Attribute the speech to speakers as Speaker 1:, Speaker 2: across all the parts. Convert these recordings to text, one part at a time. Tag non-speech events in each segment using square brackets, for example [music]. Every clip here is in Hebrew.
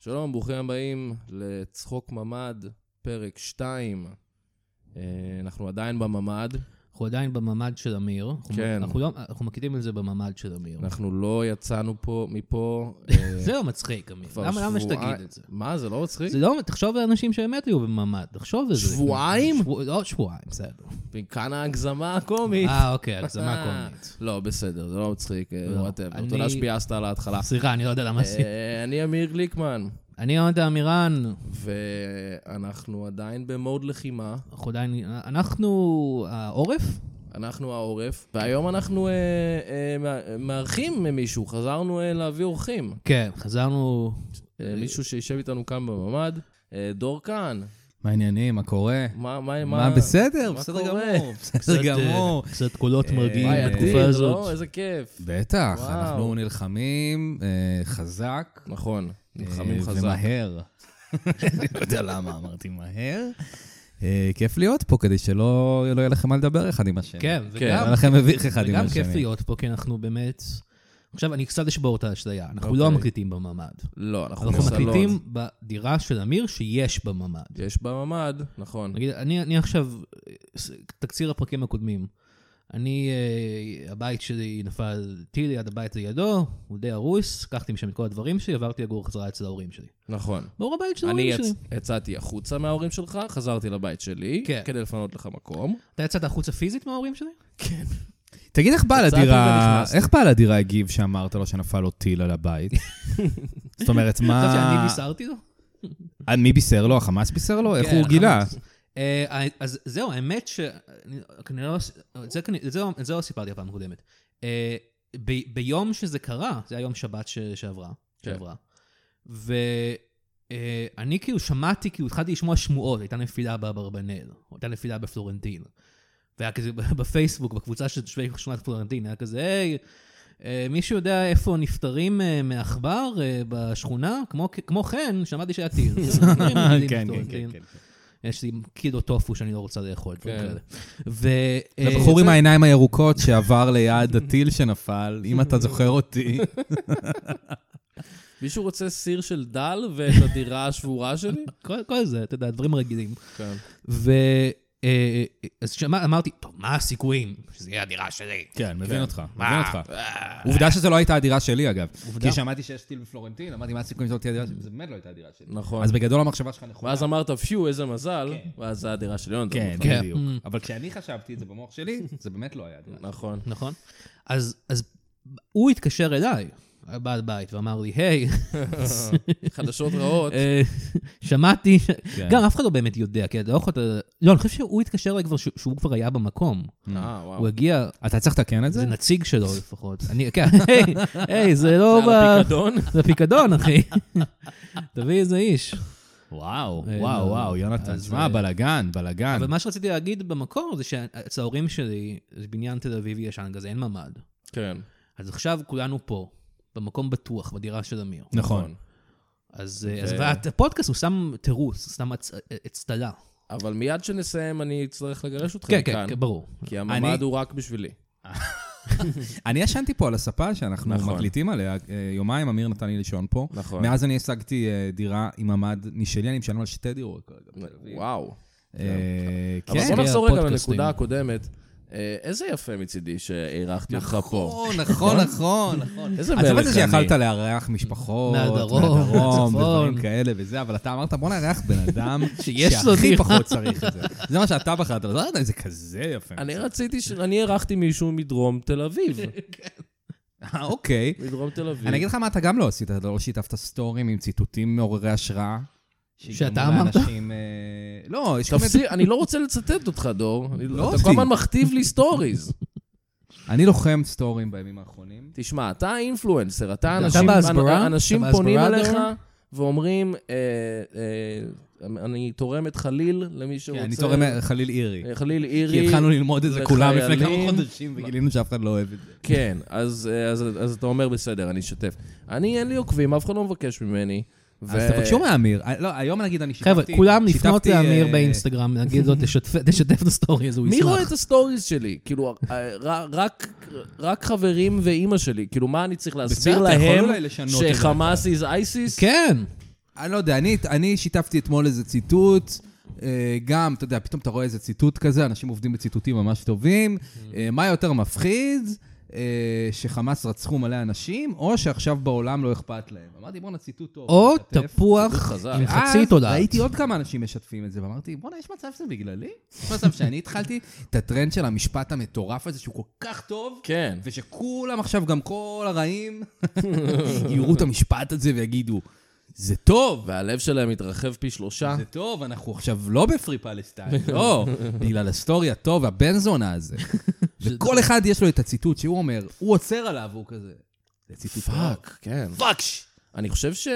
Speaker 1: שלום, ברוכים הבאים לצחוק ממ"ד, פרק 2. אנחנו עדיין בממ"ד,
Speaker 2: אנחנו עדיין בממ"ד של אמיר. אנחנו-
Speaker 1: כן.
Speaker 2: אנחנו, לא, אנחנו מקליטים את זה בממ"ד של אמיר.
Speaker 1: אנחנו לא יצאנו פה, מפה אה,
Speaker 2: [laughs] זה לא מצחיק, אמיר.
Speaker 1: כבר
Speaker 2: למה, למה שתגיד
Speaker 1: שבועיים-
Speaker 2: את זה?
Speaker 1: מה, זה לא מצחיק?
Speaker 2: זה לא, תחשוב על אנשים שבאמת היו בממ"ד, תחשוב על זה.
Speaker 1: שבועיים?
Speaker 2: שבוע, לא שבועיים,
Speaker 1: [laughs]
Speaker 2: בסדר.
Speaker 1: כאן ההגזמה הקומית.
Speaker 2: אה, אוקיי, הגזמה קומית.
Speaker 1: לא, בסדר, זה לא מצחיק,
Speaker 2: לא.
Speaker 1: וואטאבר.
Speaker 2: אני-
Speaker 1: תודה שפיאסת על ההתחלה.
Speaker 2: סליחה, [laughs] אני לא יודע למה עשיתי.
Speaker 1: אה, אני אמיר גליקמן,
Speaker 2: אני יונתן אמירן,
Speaker 1: ואנחנו עדיין במוד לחימה.
Speaker 2: אנחנו עדיין... אנחנו העורף?
Speaker 1: אנחנו העורף, והיום אנחנו אה, אה, מה- מארחים מישהו, חזרנו אה, להביא אורחים.
Speaker 2: כן, חזרנו...
Speaker 1: אה, מישהו שישב איתנו כאן בממ"ד, אה, דור כאן.
Speaker 3: מה העניינים? מה קורה?
Speaker 1: מה, מה,
Speaker 3: מה בסדר?
Speaker 1: מה
Speaker 3: בסדר
Speaker 1: קורה?
Speaker 3: גמור. אה,
Speaker 2: קצת,
Speaker 3: בסדר
Speaker 2: אה,
Speaker 3: גמור.
Speaker 2: קצת קולות
Speaker 1: אה,
Speaker 2: מרגיעים
Speaker 1: וואי,
Speaker 2: בתקופה
Speaker 1: אדיר, לא?
Speaker 2: הזאת.
Speaker 1: איזה כיף.
Speaker 3: בטח,
Speaker 1: וואו.
Speaker 3: אנחנו נלחמים אה, חזק.
Speaker 1: נכון, נלחמים
Speaker 3: אה,
Speaker 1: חזק.
Speaker 3: ומהר. אני לא יודע למה אמרתי מהר. אה, כיף להיות פה, כדי שלא לא יהיה לכם מה לדבר אחד עם השני.
Speaker 2: כן,
Speaker 1: כן,
Speaker 3: לא
Speaker 2: וגם...
Speaker 3: יהיה לכם מביך אחד עם
Speaker 2: וגם
Speaker 3: השני.
Speaker 2: כיף להיות פה, כי אנחנו באמת... עכשיו, אני קצת אשבור את האשליה. אנחנו לא
Speaker 1: אוקיי.
Speaker 2: מקליטים בממ"ד.
Speaker 1: לא, אנחנו
Speaker 2: אנחנו
Speaker 1: בסלון.
Speaker 2: מקליטים בדירה של אמיר שיש בה ממ"ד.
Speaker 1: יש בממ"ד, נכון.
Speaker 2: נגיד, אני, אני עכשיו, ס- תקציר הפרקים הקודמים. אני, אה, הבית שלי נפל טיל ליד הבית לידו, הוא די הרוס, לקחתי משם את כל הדברים שלי, עברתי לגור חזרה אצל ההורים שלי.
Speaker 1: נכון.
Speaker 2: באור הבית של
Speaker 1: אני
Speaker 2: ההורים שלי.
Speaker 1: יצ- יצאתי החוצה מההורים שלך, חזרתי לבית שלי,
Speaker 2: כן.
Speaker 1: כדי לפנות לך מקום.
Speaker 2: אתה יצאת החוצה פיזית מההורים שלי?
Speaker 1: כן.
Speaker 3: תגיד, איך בעל
Speaker 1: יצאתי
Speaker 3: הדירה,
Speaker 1: ונכנסתי.
Speaker 3: איך בעל הדירה הגיב שאמרת לו שנפל לו טיל על
Speaker 2: [laughs]
Speaker 3: הבית? זאת אומרת,
Speaker 2: אתה חושב שאני
Speaker 3: מה...
Speaker 2: בישרתי לו?
Speaker 3: אה, מי בישר לו? החמאס בישר לו? איך
Speaker 2: כן,
Speaker 3: הוא גילה?
Speaker 2: החמאס. אה, אז זהו, האמת ש... אני- כנראה לא... ס- זה כנראה- את זה לא- את זה לא סיפרתי הפעם הקודמת. אה, ב- ביום שזה קרה, זה היה יום שבת ש- שעברה,
Speaker 1: כן.
Speaker 2: שעברה, ואני כאילו שמעתי, כאילו התחלתי לשמוע שמועות, הייתה נפילה באברבנל, או הייתה נפילה בפלורנטין. והיה כזה [laughs] בפייסבוק, בקבוצה של תושבי שכונת פלורנטין, היה כזה, היי, אה, מישהו יודע איפה נפטרים אה, מעכבר אה, בשכונה? כמו- כמו כן, שמעתי שהיה
Speaker 3: [laughs]
Speaker 2: טיל. נפטרים מטילים
Speaker 3: כן, כן,
Speaker 2: בפלורנטין.
Speaker 3: כן, כן.
Speaker 2: יש לי קילו טופו שאני לא רוצה לאכול, דברים
Speaker 1: כן.
Speaker 2: כאלה. ו... אה,
Speaker 3: לבחור עם העיניים הירוקות שעבר ליד הטיל שנפל, אם אתה זוכר אותי.
Speaker 1: מישהו רוצה סיר של דל ואת הדירה השבורה
Speaker 3: [laughs]
Speaker 1: שלי?
Speaker 2: כל- כל זה, אתה יודע, דברים רגילים.
Speaker 1: כן.
Speaker 2: ו... אה, אז שמע, אמרתי, טוב, מה הסיכויים שזה יהיה הדירה שלי? אה,
Speaker 3: [laughs] כן,
Speaker 1: כן.
Speaker 3: מבין אותך, מבין אותך. עובדה שזו לא הייתה הדירה שלי, אגב.
Speaker 2: עובדה.
Speaker 3: כי שמעתי שיש טיל בפלורנטין, אמרתי, מה הסיכויים שזאת תהיה הדירה שלי? זה באמת לא הייתה הדירה שלי.
Speaker 1: נכון.
Speaker 3: אז בגדול המחשבה שלך נכונה.
Speaker 1: ואז אמרת, פיו, איזה מזל, ואז זה הדירה של יונתן.
Speaker 3: כן,
Speaker 2: כן.
Speaker 3: בדיוק.
Speaker 2: Mm.
Speaker 3: אבל כשאני חשבתי את זה במוח שלי, זה באמת לא היה הדירה. שלי.
Speaker 1: נכון.
Speaker 2: נכון? אז אז הוא התקשר אליי, בעל בית, ואמר לי, היי,
Speaker 1: חדשות רעות.
Speaker 2: אה, שמעתי, ש-
Speaker 3: כן.
Speaker 2: גם אף אחד לא באמת יודע, כי אתה לא יכול... לא, אני חושב שהוא התקשר אליי כבר, ש- שהוא כבר היה במקום.
Speaker 1: אה, וואו.
Speaker 2: הוא הגיע,
Speaker 3: אתה צריך לתקן את זה?
Speaker 2: זה נציג שלו לפחות. אני, כן, היי, היי, זה לא...
Speaker 1: זה
Speaker 2: ב-
Speaker 1: על הפיקדון?
Speaker 2: זה פיקדון,
Speaker 3: [laughs]
Speaker 2: אחי. תביא איזה איש.
Speaker 3: וואו,
Speaker 2: אה,
Speaker 3: וואו,
Speaker 2: לא.
Speaker 3: וואו, יונתן,
Speaker 2: אז,
Speaker 3: שמע,
Speaker 2: אה,
Speaker 3: בלאגן, בלאגן.
Speaker 2: אבל מה שרציתי להגיד במקור זה שאצל ההורים שלי, זה בניין תל אביבי ישן כזה, אין ממ"ד.
Speaker 1: כן.
Speaker 2: אז עכשיו כולנו פה, במקום בטוח, בדירה של אמיר.
Speaker 3: נכון.
Speaker 2: אז אה, אז
Speaker 1: ו-
Speaker 2: והפודקאסט הוא שם תירוץ, הוא שם הצ- אצטלה.
Speaker 3: כן,
Speaker 1: אבל מיד שנסיים אני אצטרך לגרש אותך
Speaker 2: כן,
Speaker 1: מכאן,
Speaker 2: כן, כן,
Speaker 3: [laughs]
Speaker 2: ברור.
Speaker 1: כי הממ"ד
Speaker 3: אני-
Speaker 1: הוא רק בשבילי.
Speaker 3: אני ישנתי פה על הספה שאנחנו
Speaker 1: נכון.
Speaker 3: מקליטים עליה אה, יומיים, אמיר נתן לי לישון פה.
Speaker 1: נכון.
Speaker 3: מאז אני השגתי אה, דירה עם ממ"ד משלי, אני משלם על שתי דירות כרגע. בתל אביב.
Speaker 1: וואו.
Speaker 3: אה,
Speaker 1: אבל
Speaker 3: כן.
Speaker 1: בוא נחזור רגע
Speaker 2: הפודקאסטים.
Speaker 1: לנקודה הקודמת. אה, איזה יפה מצידי שאירחתי אותך פה.
Speaker 3: נכון, נכון, נכון, נכון.
Speaker 1: איזה
Speaker 3: אז
Speaker 1: מלך
Speaker 3: עבדת שיכלת
Speaker 1: אני.
Speaker 3: לארח משפחות,
Speaker 2: מהדרום,
Speaker 3: מהדרום,
Speaker 2: מהצפון.
Speaker 3: דברים כאלה וזה, אבל אתה אמרת, בוא נארח בן אדם
Speaker 2: שיש לו
Speaker 3: שהכי
Speaker 2: דירה."
Speaker 3: פחות צריך את זה. זה מה שאתה בחרת, אבל לא יודע אם זה כזה יפה.
Speaker 1: אני רציתי, ש- אני אירחתי מישהו מדרום תל
Speaker 3: [laughs]
Speaker 1: אביב.
Speaker 3: כן. אה, אוקיי.
Speaker 1: מדרום תל אביב.
Speaker 3: אני אגיד לך מה אתה גם לא עשית, אתה לא שיתפת סטורים עם ציטוטים מעוררי השראה. שיגרמו
Speaker 2: שאתה אמרת?
Speaker 3: לאנשים, אה, לא, יש כל מיני...
Speaker 1: תפסיק, אני לא רוצה לצטט אותך, דור. אני-
Speaker 3: לא
Speaker 1: אתה כל
Speaker 3: אותי.
Speaker 1: הזמן מכתיב לי סטוריז.
Speaker 3: אני לוחם סטורים בימים האחרונים.
Speaker 1: תשמע, אתה אינפלואנסר, אתה
Speaker 2: אתה
Speaker 1: אנשים,
Speaker 2: בהסברה?
Speaker 1: אנשים
Speaker 2: אתה
Speaker 1: פונים
Speaker 2: בהסברה,
Speaker 1: אליך
Speaker 2: דור?
Speaker 1: ואומרים, אה, אה, אני תורם את חליל למי שרוצה.
Speaker 3: כן, אני תורם חליל אירי.
Speaker 1: אה, חליל אירי.
Speaker 3: כי התחלנו ללמוד את זה כולם לפני
Speaker 1: לחיילים.
Speaker 3: כמה חודשים, וגילינו שאף אחד לא אוהב את זה.
Speaker 1: כן, אז, אה, אז, אז אתה אומר, בסדר, אני אשתף. אני, אין לי עוקבים, אף אחד לא מבקש ממני. ו-
Speaker 3: אז תבקשו מאמיר. אה, לא, היום נגיד אני שיתפתי...
Speaker 2: חבר'ה, כולם לפנות
Speaker 3: שיתפתי,
Speaker 2: לאמיר
Speaker 3: אה,
Speaker 2: באינסטגרם, להגיד
Speaker 3: [laughs]
Speaker 2: לו, "תשתף- תשתף את הסטורי הזה, הוא
Speaker 1: מי רואה
Speaker 2: ישמח.
Speaker 1: את הסטוריז שלי? כאילו, אה, ר- רק, רק חברים ואימא שלי. כאילו, מה אני צריך להסביר
Speaker 3: בסדר, אתה יכול
Speaker 1: להם
Speaker 3: אולי לשנות את זה.
Speaker 1: שחמאס is ISIS?
Speaker 2: כן.
Speaker 3: אני לא יודע, אני, אני שיתפתי אתמול איזה ציטוט, אה, גם, אתה יודע, פתאום אתה רואה איזה ציטוט כזה, אנשים עובדים בציטוטים ממש טובים. אה, מה יותר מפחיד? אה, שחמאס רצחו מלא אנשים, או שעכשיו בעולם לא אכפת להם. אמרתי, בואנה, ציטוט טוב.
Speaker 2: או
Speaker 3: כתף.
Speaker 1: ציטוט
Speaker 2: תפוח
Speaker 1: חזק.
Speaker 2: עם
Speaker 3: ואז
Speaker 2: חצי תודעה.
Speaker 3: אה, ראיתי עוד כמה אנשים משתפים את זה, ואמרתי, בואנה, יש מצב שזה בגללי? יש מצב שאני התחלתי את הטרנד של המשפט המטורף הזה, שהוא כל כך טוב,
Speaker 1: כן.
Speaker 3: ושכולם עכשיו, גם כל הרעים, [laughs] יראו את המשפט הזה ויגידו, זה טוב,
Speaker 1: והלב שלהם מתרחב פי שלושה.
Speaker 3: זה טוב, אנחנו עכשיו לא בפרי
Speaker 1: [laughs]
Speaker 3: פלסטיין, לא, בגלל הסטורי הטוב, הבן זונה הזה. וכל אחד יש לו את הציטוט שהוא אומר, הוא עוצר עליו, הוא כזה. זה ציטוט טוב.
Speaker 1: פאק, כן. פאק! אני חושב ש...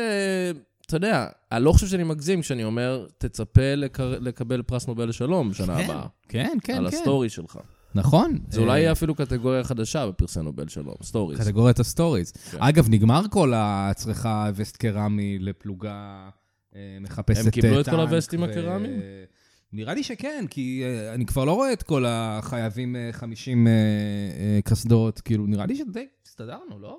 Speaker 1: אתה יודע, אני לא חושב שאני מגזים כשאני אומר, תצפה לקר- לקבל פרס נובל לשלום בשנה הבאה.
Speaker 3: כן, כן,
Speaker 1: על
Speaker 3: כן.
Speaker 1: הסטורי שלך.
Speaker 3: נכון.
Speaker 1: זה אולי יהיה אפילו קטגוריה חדשה בפרסי נובל שלום, סטוריז.
Speaker 3: קטגוריית הסטוריז.
Speaker 1: כן.
Speaker 3: אגב, נגמר כל הצריכה וסט קרמי לפלוגה אה, מחפשת
Speaker 1: הם קיבלו
Speaker 3: אה,
Speaker 1: את כל
Speaker 3: טנק
Speaker 1: הווסטים
Speaker 3: ו-
Speaker 1: הקרמיים?
Speaker 3: נראה לי שכן, כי אה, אני כבר לא רואה את כל החייבים אה, 50 אה, אה, קסדות, כאילו, נראה לי שדי הסתדרנו, לא?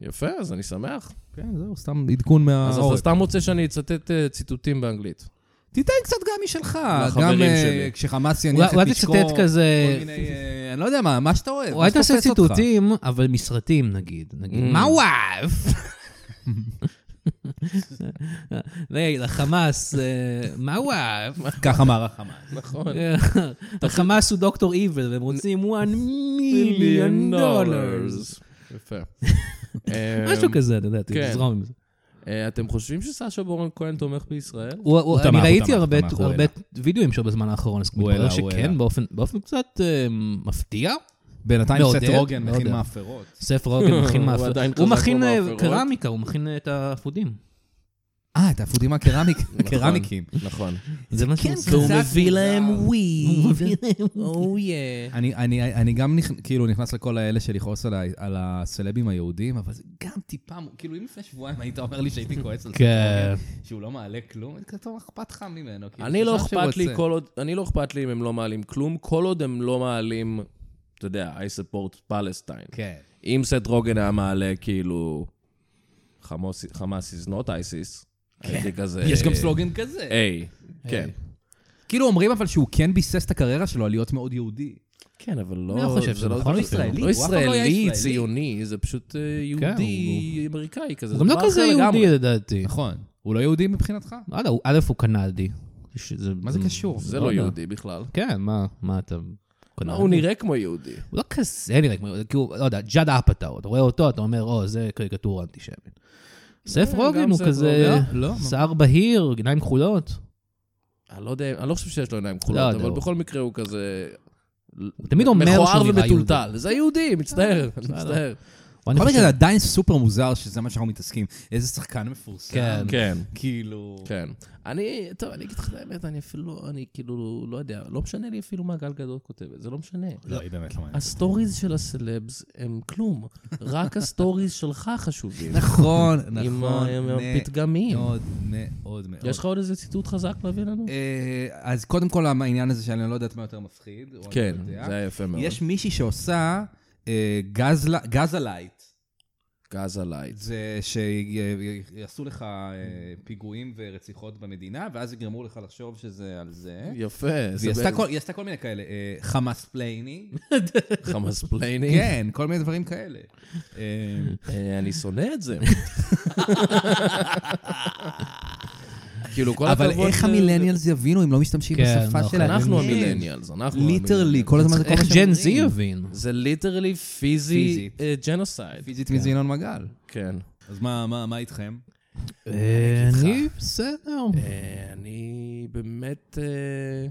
Speaker 1: יפה, אז אני שמח.
Speaker 3: כן, זהו, סתם
Speaker 1: אז
Speaker 3: עדכון
Speaker 1: אתה
Speaker 3: מהעורף.
Speaker 1: סתם רוצה שאני אצטט אה, ציטוטים
Speaker 3: [laughs]
Speaker 1: באנגלית.
Speaker 3: תיתן קצת גם משלך,
Speaker 1: לחברים
Speaker 3: גם אה,
Speaker 1: שלי.
Speaker 3: כשחמאס
Speaker 2: אולי
Speaker 3: יניח את
Speaker 2: אולי
Speaker 3: משקו,
Speaker 2: תצטט כזה...
Speaker 3: כל מיני, אה, אני לא יודע מה, מה שאתה אוהב, מה
Speaker 2: אולי תעשה
Speaker 3: שתופס אותך.
Speaker 2: ציטוטים, אבל מסרטים נגיד. נגיד,
Speaker 1: Mm.
Speaker 2: מה הוא אהב? נגיד, החמאס, אה, מה הוא אהב?
Speaker 3: ככה אמר החמאס.
Speaker 1: נכון.
Speaker 2: החמאס הוא דוקטור איבל, והם רוצים 1 מיליון
Speaker 1: מיליון
Speaker 2: דולרס.
Speaker 1: דולרס. יפה.
Speaker 3: [laughs]
Speaker 2: משהו כזה, אתה יודע,
Speaker 1: כן.
Speaker 2: תזרום עם זה.
Speaker 1: אה, אתם חושבים שסשה בורן כהן תומך
Speaker 3: [laughs]
Speaker 1: בישראל?
Speaker 2: הוא- הוא-
Speaker 3: תמך,
Speaker 2: אני
Speaker 3: הוא
Speaker 2: ראיתי
Speaker 3: תמך,
Speaker 2: הרבה-
Speaker 3: תמך, הוא
Speaker 2: הרבה וידאוים שלו בזמן האחרון, אז
Speaker 3: הוא
Speaker 2: מתברר
Speaker 3: העלה, הוא
Speaker 2: שכן,
Speaker 3: העלה.
Speaker 2: באופן- באופן קצת אה, מפתיע.
Speaker 3: בינתיים
Speaker 2: מעודד,
Speaker 3: סט רוגן
Speaker 2: מעודד.
Speaker 3: מכין מאפרות.
Speaker 2: סף רוגן מכין
Speaker 1: הוא
Speaker 2: מאפר.
Speaker 1: עדיין
Speaker 2: הוא
Speaker 1: חזק
Speaker 2: מכין אה,
Speaker 1: במאפרות.
Speaker 2: קרמיקה, הוא מכין אה, את האפודים.
Speaker 3: אה, את האפודים הקרמיק, הקרמיקים.
Speaker 1: [laughs] נכון.
Speaker 2: זה מה שהוא
Speaker 3: כן,
Speaker 2: עושה.
Speaker 3: והוא קצת מביא מוזר. להם Oh,
Speaker 2: וויד. או יא.
Speaker 3: אני, אני, אני גם נכ... כאילו נכנס לכל האלה של לכעוס על, ה... על הסלבים היהודים, אבל זה גם טיפה, מ- כאילו אם לפני שבועיים היית אומר לי שהייתי כועס על
Speaker 2: כן.
Speaker 3: סטורי, שהוא לא מעלה כלום, אז כזה טוב, מה אכפת לך ממנו. כאילו,
Speaker 1: אני לא
Speaker 3: שיעשה מה
Speaker 1: אכפת לי
Speaker 3: שהוא רוצה.
Speaker 1: כל עוד, אני לא אכפת לי אם הם לא מעלים כלום, כל עוד הם לא מעלים, אתה יודע, I support Palestine.
Speaker 3: כן.
Speaker 1: אם סט רוגן היה מעלה כאילו, חמוס חמאס is not ISIS, הייתי כזה...
Speaker 3: יש גם סלוגן כזה.
Speaker 1: היי, כן.
Speaker 3: כאילו אומרים אבל שהוא כן ביסס את הקריירה שלו על להיות מאוד יהודי.
Speaker 1: כן, אבל לא...
Speaker 2: אני לא חושב
Speaker 1: זה
Speaker 2: שזה
Speaker 1: לא-
Speaker 2: נכון
Speaker 1: זה
Speaker 2: אפילו.
Speaker 1: לא
Speaker 3: הוא אף פעם לא היה
Speaker 1: ישראלי,
Speaker 3: ישראלי.
Speaker 1: ציוני, זה פשוט אה, יהודי אמריקאי כזה.
Speaker 2: הוא
Speaker 1: זה
Speaker 2: גם לא
Speaker 1: דבר
Speaker 2: כזה
Speaker 1: אחר לגמרי.
Speaker 2: יהודי לדעתי.
Speaker 3: נכון. הוא לא יהודי מבחינתך?
Speaker 2: וואלה, הוא- א', הוא קנדי. שזה-
Speaker 3: מה זה קשור?
Speaker 1: זה
Speaker 2: לא
Speaker 1: לא
Speaker 2: יודע.
Speaker 1: יהודי בכלל.
Speaker 2: כן, מה, מה אתה... קנדי?
Speaker 1: הוא נראה כמו יהודי.
Speaker 2: הוא לא כזה נראה כמו, כאילו, לא יודע, ג'אד אפאטאו, אתה רואה אותו, אתה אומר, או, זה קריקטורה אנטישמית. סף
Speaker 1: כן,
Speaker 2: רוגן
Speaker 1: גם
Speaker 2: הוא
Speaker 1: סף
Speaker 2: כזה
Speaker 1: רוגן.
Speaker 3: לא, לא.
Speaker 2: שיער בהיר, עיניים כחולות.
Speaker 1: אני לא יודע, אני לא חושב שיש לו עיניים
Speaker 2: לא
Speaker 1: כחולות,
Speaker 2: יודע,
Speaker 1: אבל
Speaker 2: הוא-
Speaker 1: בכל מקרה הוא כזה...
Speaker 2: הוא תמיד אומר
Speaker 1: מכוער
Speaker 2: שהוא נראה
Speaker 1: ומטולטל. זה יהודי,
Speaker 3: [laughs]
Speaker 1: מצטער, מצטער.
Speaker 2: או אני
Speaker 3: בכל
Speaker 2: חושב-
Speaker 3: מקרה, זה עדיין סופר מוזר שזה מה שאנחנו מתעסקים. איזה שחקן מפורסם.
Speaker 2: כן.
Speaker 1: כן,
Speaker 3: כאילו...
Speaker 1: כן. אני, טוב, אני אגיד לך את האמת, אני אפילו, אני כאילו, לא יודע, לא משנה לי אפילו מה גל גדות כותבת, זה לא משנה.
Speaker 3: לא, היא באמת לא מעניינת.
Speaker 1: הסטוריז של הסלבס הם כלום, רק הסטוריז שלך חשובים.
Speaker 3: נכון,
Speaker 1: עם
Speaker 3: נכון.
Speaker 1: ה- עם
Speaker 3: נ-
Speaker 1: הפתגמים.
Speaker 3: מאוד, מאוד, מאוד.
Speaker 1: יש לך עוד איזה ציטוט חזק להביא לנו?
Speaker 3: אה, אז קודם כל, העניין הזה שאני לא יודעת מה יותר מפחיד. או אני
Speaker 1: כן,
Speaker 3: לא יודע.
Speaker 1: זה היה יפה מאוד.
Speaker 3: יש מישהי שעושה אה, גז ל- גז הלייט.
Speaker 1: גז הלייט.
Speaker 3: זה שיעשו לך אה, פיגועים ורציחות במדינה, ואז יגרמו לך לחשוב שזה על זה.
Speaker 1: יפה.
Speaker 3: והיא עשתה כל- היא עשתה כל מיני כאלה, אה, חמאס
Speaker 1: [laughs]
Speaker 3: פלייני,
Speaker 1: חמאס פלייני.
Speaker 3: כן, כל מיני דברים כאלה. אה,
Speaker 1: אה, אני שונא את
Speaker 3: [laughs]
Speaker 1: זה. כאילו, כל הכבוד...
Speaker 3: אבל איך
Speaker 1: ל-
Speaker 3: המילניאלס יבינו אם לא משתמשים
Speaker 2: כן,
Speaker 3: בשפה
Speaker 2: נכון.
Speaker 3: שלהם?
Speaker 1: אנחנו
Speaker 3: כן.
Speaker 1: המילניאלס, אנחנו
Speaker 3: ליטרלי, כל הזמן זה כל מה
Speaker 2: איך
Speaker 3: שהם
Speaker 2: ג'ן
Speaker 3: אומרים.
Speaker 2: זי יבין?
Speaker 1: זה ליטרלי פיזי
Speaker 3: פיזית.
Speaker 1: ג'נוסייד.
Speaker 3: פיזית מזה ינון מגל.
Speaker 1: כן. לא
Speaker 3: אז מה, מה, מה איתכם?
Speaker 2: אה, אני בסדר.
Speaker 1: אה, אני באמת... אה, לא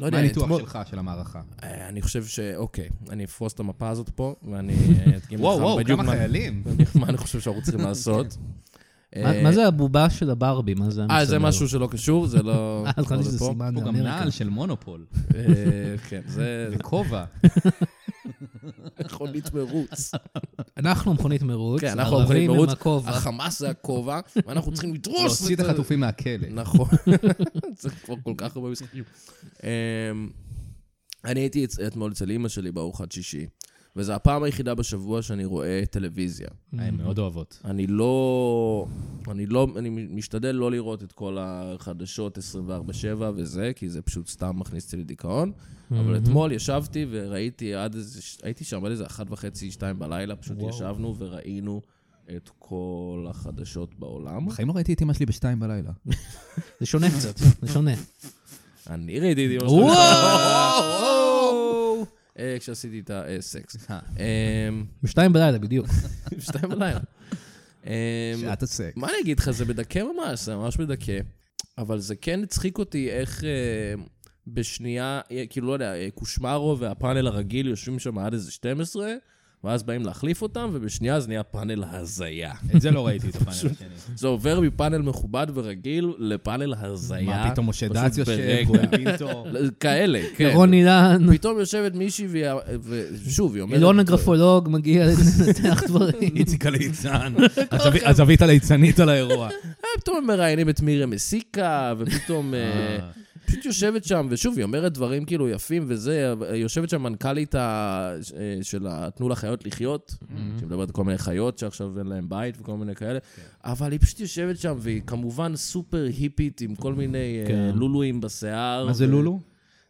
Speaker 3: מה
Speaker 1: יודע,
Speaker 3: הניתוח
Speaker 1: אתמול-
Speaker 3: שלך של המערכה?
Speaker 1: אה, אני חושב ש... אוקיי, אני אפרוס את המפה הזאת פה, ואני אה, אדגים לך [laughs] בדיוק מה-
Speaker 3: חיילים.
Speaker 1: מה אני חושב שאנחנו צריכים לעשות.
Speaker 2: מה- מה זה הבובה של הברבי? מה זה?
Speaker 1: אה, זה
Speaker 2: המסדר?
Speaker 1: משהו שלא קשור, זה לא...
Speaker 2: אה, אז חשבתי
Speaker 1: לא
Speaker 2: שזה
Speaker 1: לפה.
Speaker 2: סימן
Speaker 3: הוא גם
Speaker 2: לאמריקה.
Speaker 3: נעל של
Speaker 1: [laughs]
Speaker 3: מונופול.
Speaker 1: אה, כן, זה זה [laughs]
Speaker 3: וכובע.
Speaker 1: מכונית מרוץ.
Speaker 2: אנחנו מכונית מרוץ,
Speaker 1: כן, אנחנו מכונית
Speaker 2: הערבים
Speaker 1: מרוץ,
Speaker 2: הם הכובע.
Speaker 1: החמאס זה הכובע, ואנחנו צריכים לדרוס.
Speaker 3: להוציא את החטופים מהכלא.
Speaker 1: נכון. [laughs] זה כבר כל כך הרבה משחקים. אמ, אני הייתי אצ- אתמול אצל אימא שלי בארוחת שישי, וזו הפעם היחידה בשבוע שאני רואה טלוויזיה.
Speaker 3: אה,
Speaker 4: הן מאוד אוהבות.
Speaker 1: אני לא... אני לא... אני משתדל לא לראות את כל החדשות 24-7 וזה, כי זה פשוט סתם מכניס אותי לדיכאון. אבל אתמול ישבתי וראיתי עד איזה... הייתי שם עד איזה אחת וחצי, שתיים בלילה, פשוט
Speaker 2: וואו.
Speaker 1: ישבנו וראינו את כל החדשות בעולם.
Speaker 3: בחיים לא ראיתי את אמא שלי בשתיים בלילה.
Speaker 1: [laughs]
Speaker 2: זה שונה קצת, זה שונה.
Speaker 1: אני ראיתי את אמא שלי.
Speaker 2: וואו!
Speaker 1: אה, כשעשיתי את הסקס. אמ,
Speaker 3: אה.
Speaker 2: בשתיים בלילה בדיוק.
Speaker 1: שתיים
Speaker 3: [laughs]
Speaker 1: בלילה. אה,
Speaker 3: שעת הסק.
Speaker 1: מה אני אגיד לך, זה מדכא ממש, זה ממש מדכא. אבל זה כן הצחיק אותי איך אה, בשנייה, אה, כאילו, לא יודע, אה, קושמרו והפאנל הרגיל יושבים שם עד איזה 12, ואז באים להחליף אותם, ובשנייה זה נהיה פאנל הזיה.
Speaker 4: את זה לא ראיתי, את הפאנל השני.
Speaker 1: זה עובר מפאנל מכובד ורגיל לפאנל הזיה.
Speaker 3: מה פתאום משה
Speaker 1: פשוט
Speaker 3: דץ יושב,
Speaker 1: ברגע. [laughs]
Speaker 3: גואל
Speaker 1: לא, כאלה, כן.
Speaker 2: רון אילן,
Speaker 1: פתאום יושבת מישהי, והיא- ושוב, היא אומרת... "אה,
Speaker 2: אילון הגרפולוג מגיע לנתח דברים.
Speaker 3: איציק הליצן, [laughs] הזווי- הזווית הליצנית על
Speaker 1: [laughs]
Speaker 3: האירוע.
Speaker 1: אה, פתאום הם מראיינים את מירי מסיקה, ופתאום... אה, פשוט יושבת שם, ושוב, היא אומרת דברים כאילו יפים וזה, אבל יושבת שם מנכ"לית ה- אה, של ה- תנו לחיות לחיות, שמדברת על כל מיני חיות שעכשיו אין להן בית וכל מיני כאלה, אבל היא פשוט יושבת שם, והיא כמובן סופר היפית עם כל מיני אה,
Speaker 2: כן.
Speaker 1: לולואים בשיער.
Speaker 3: מה זה
Speaker 1: ו-
Speaker 3: לולו?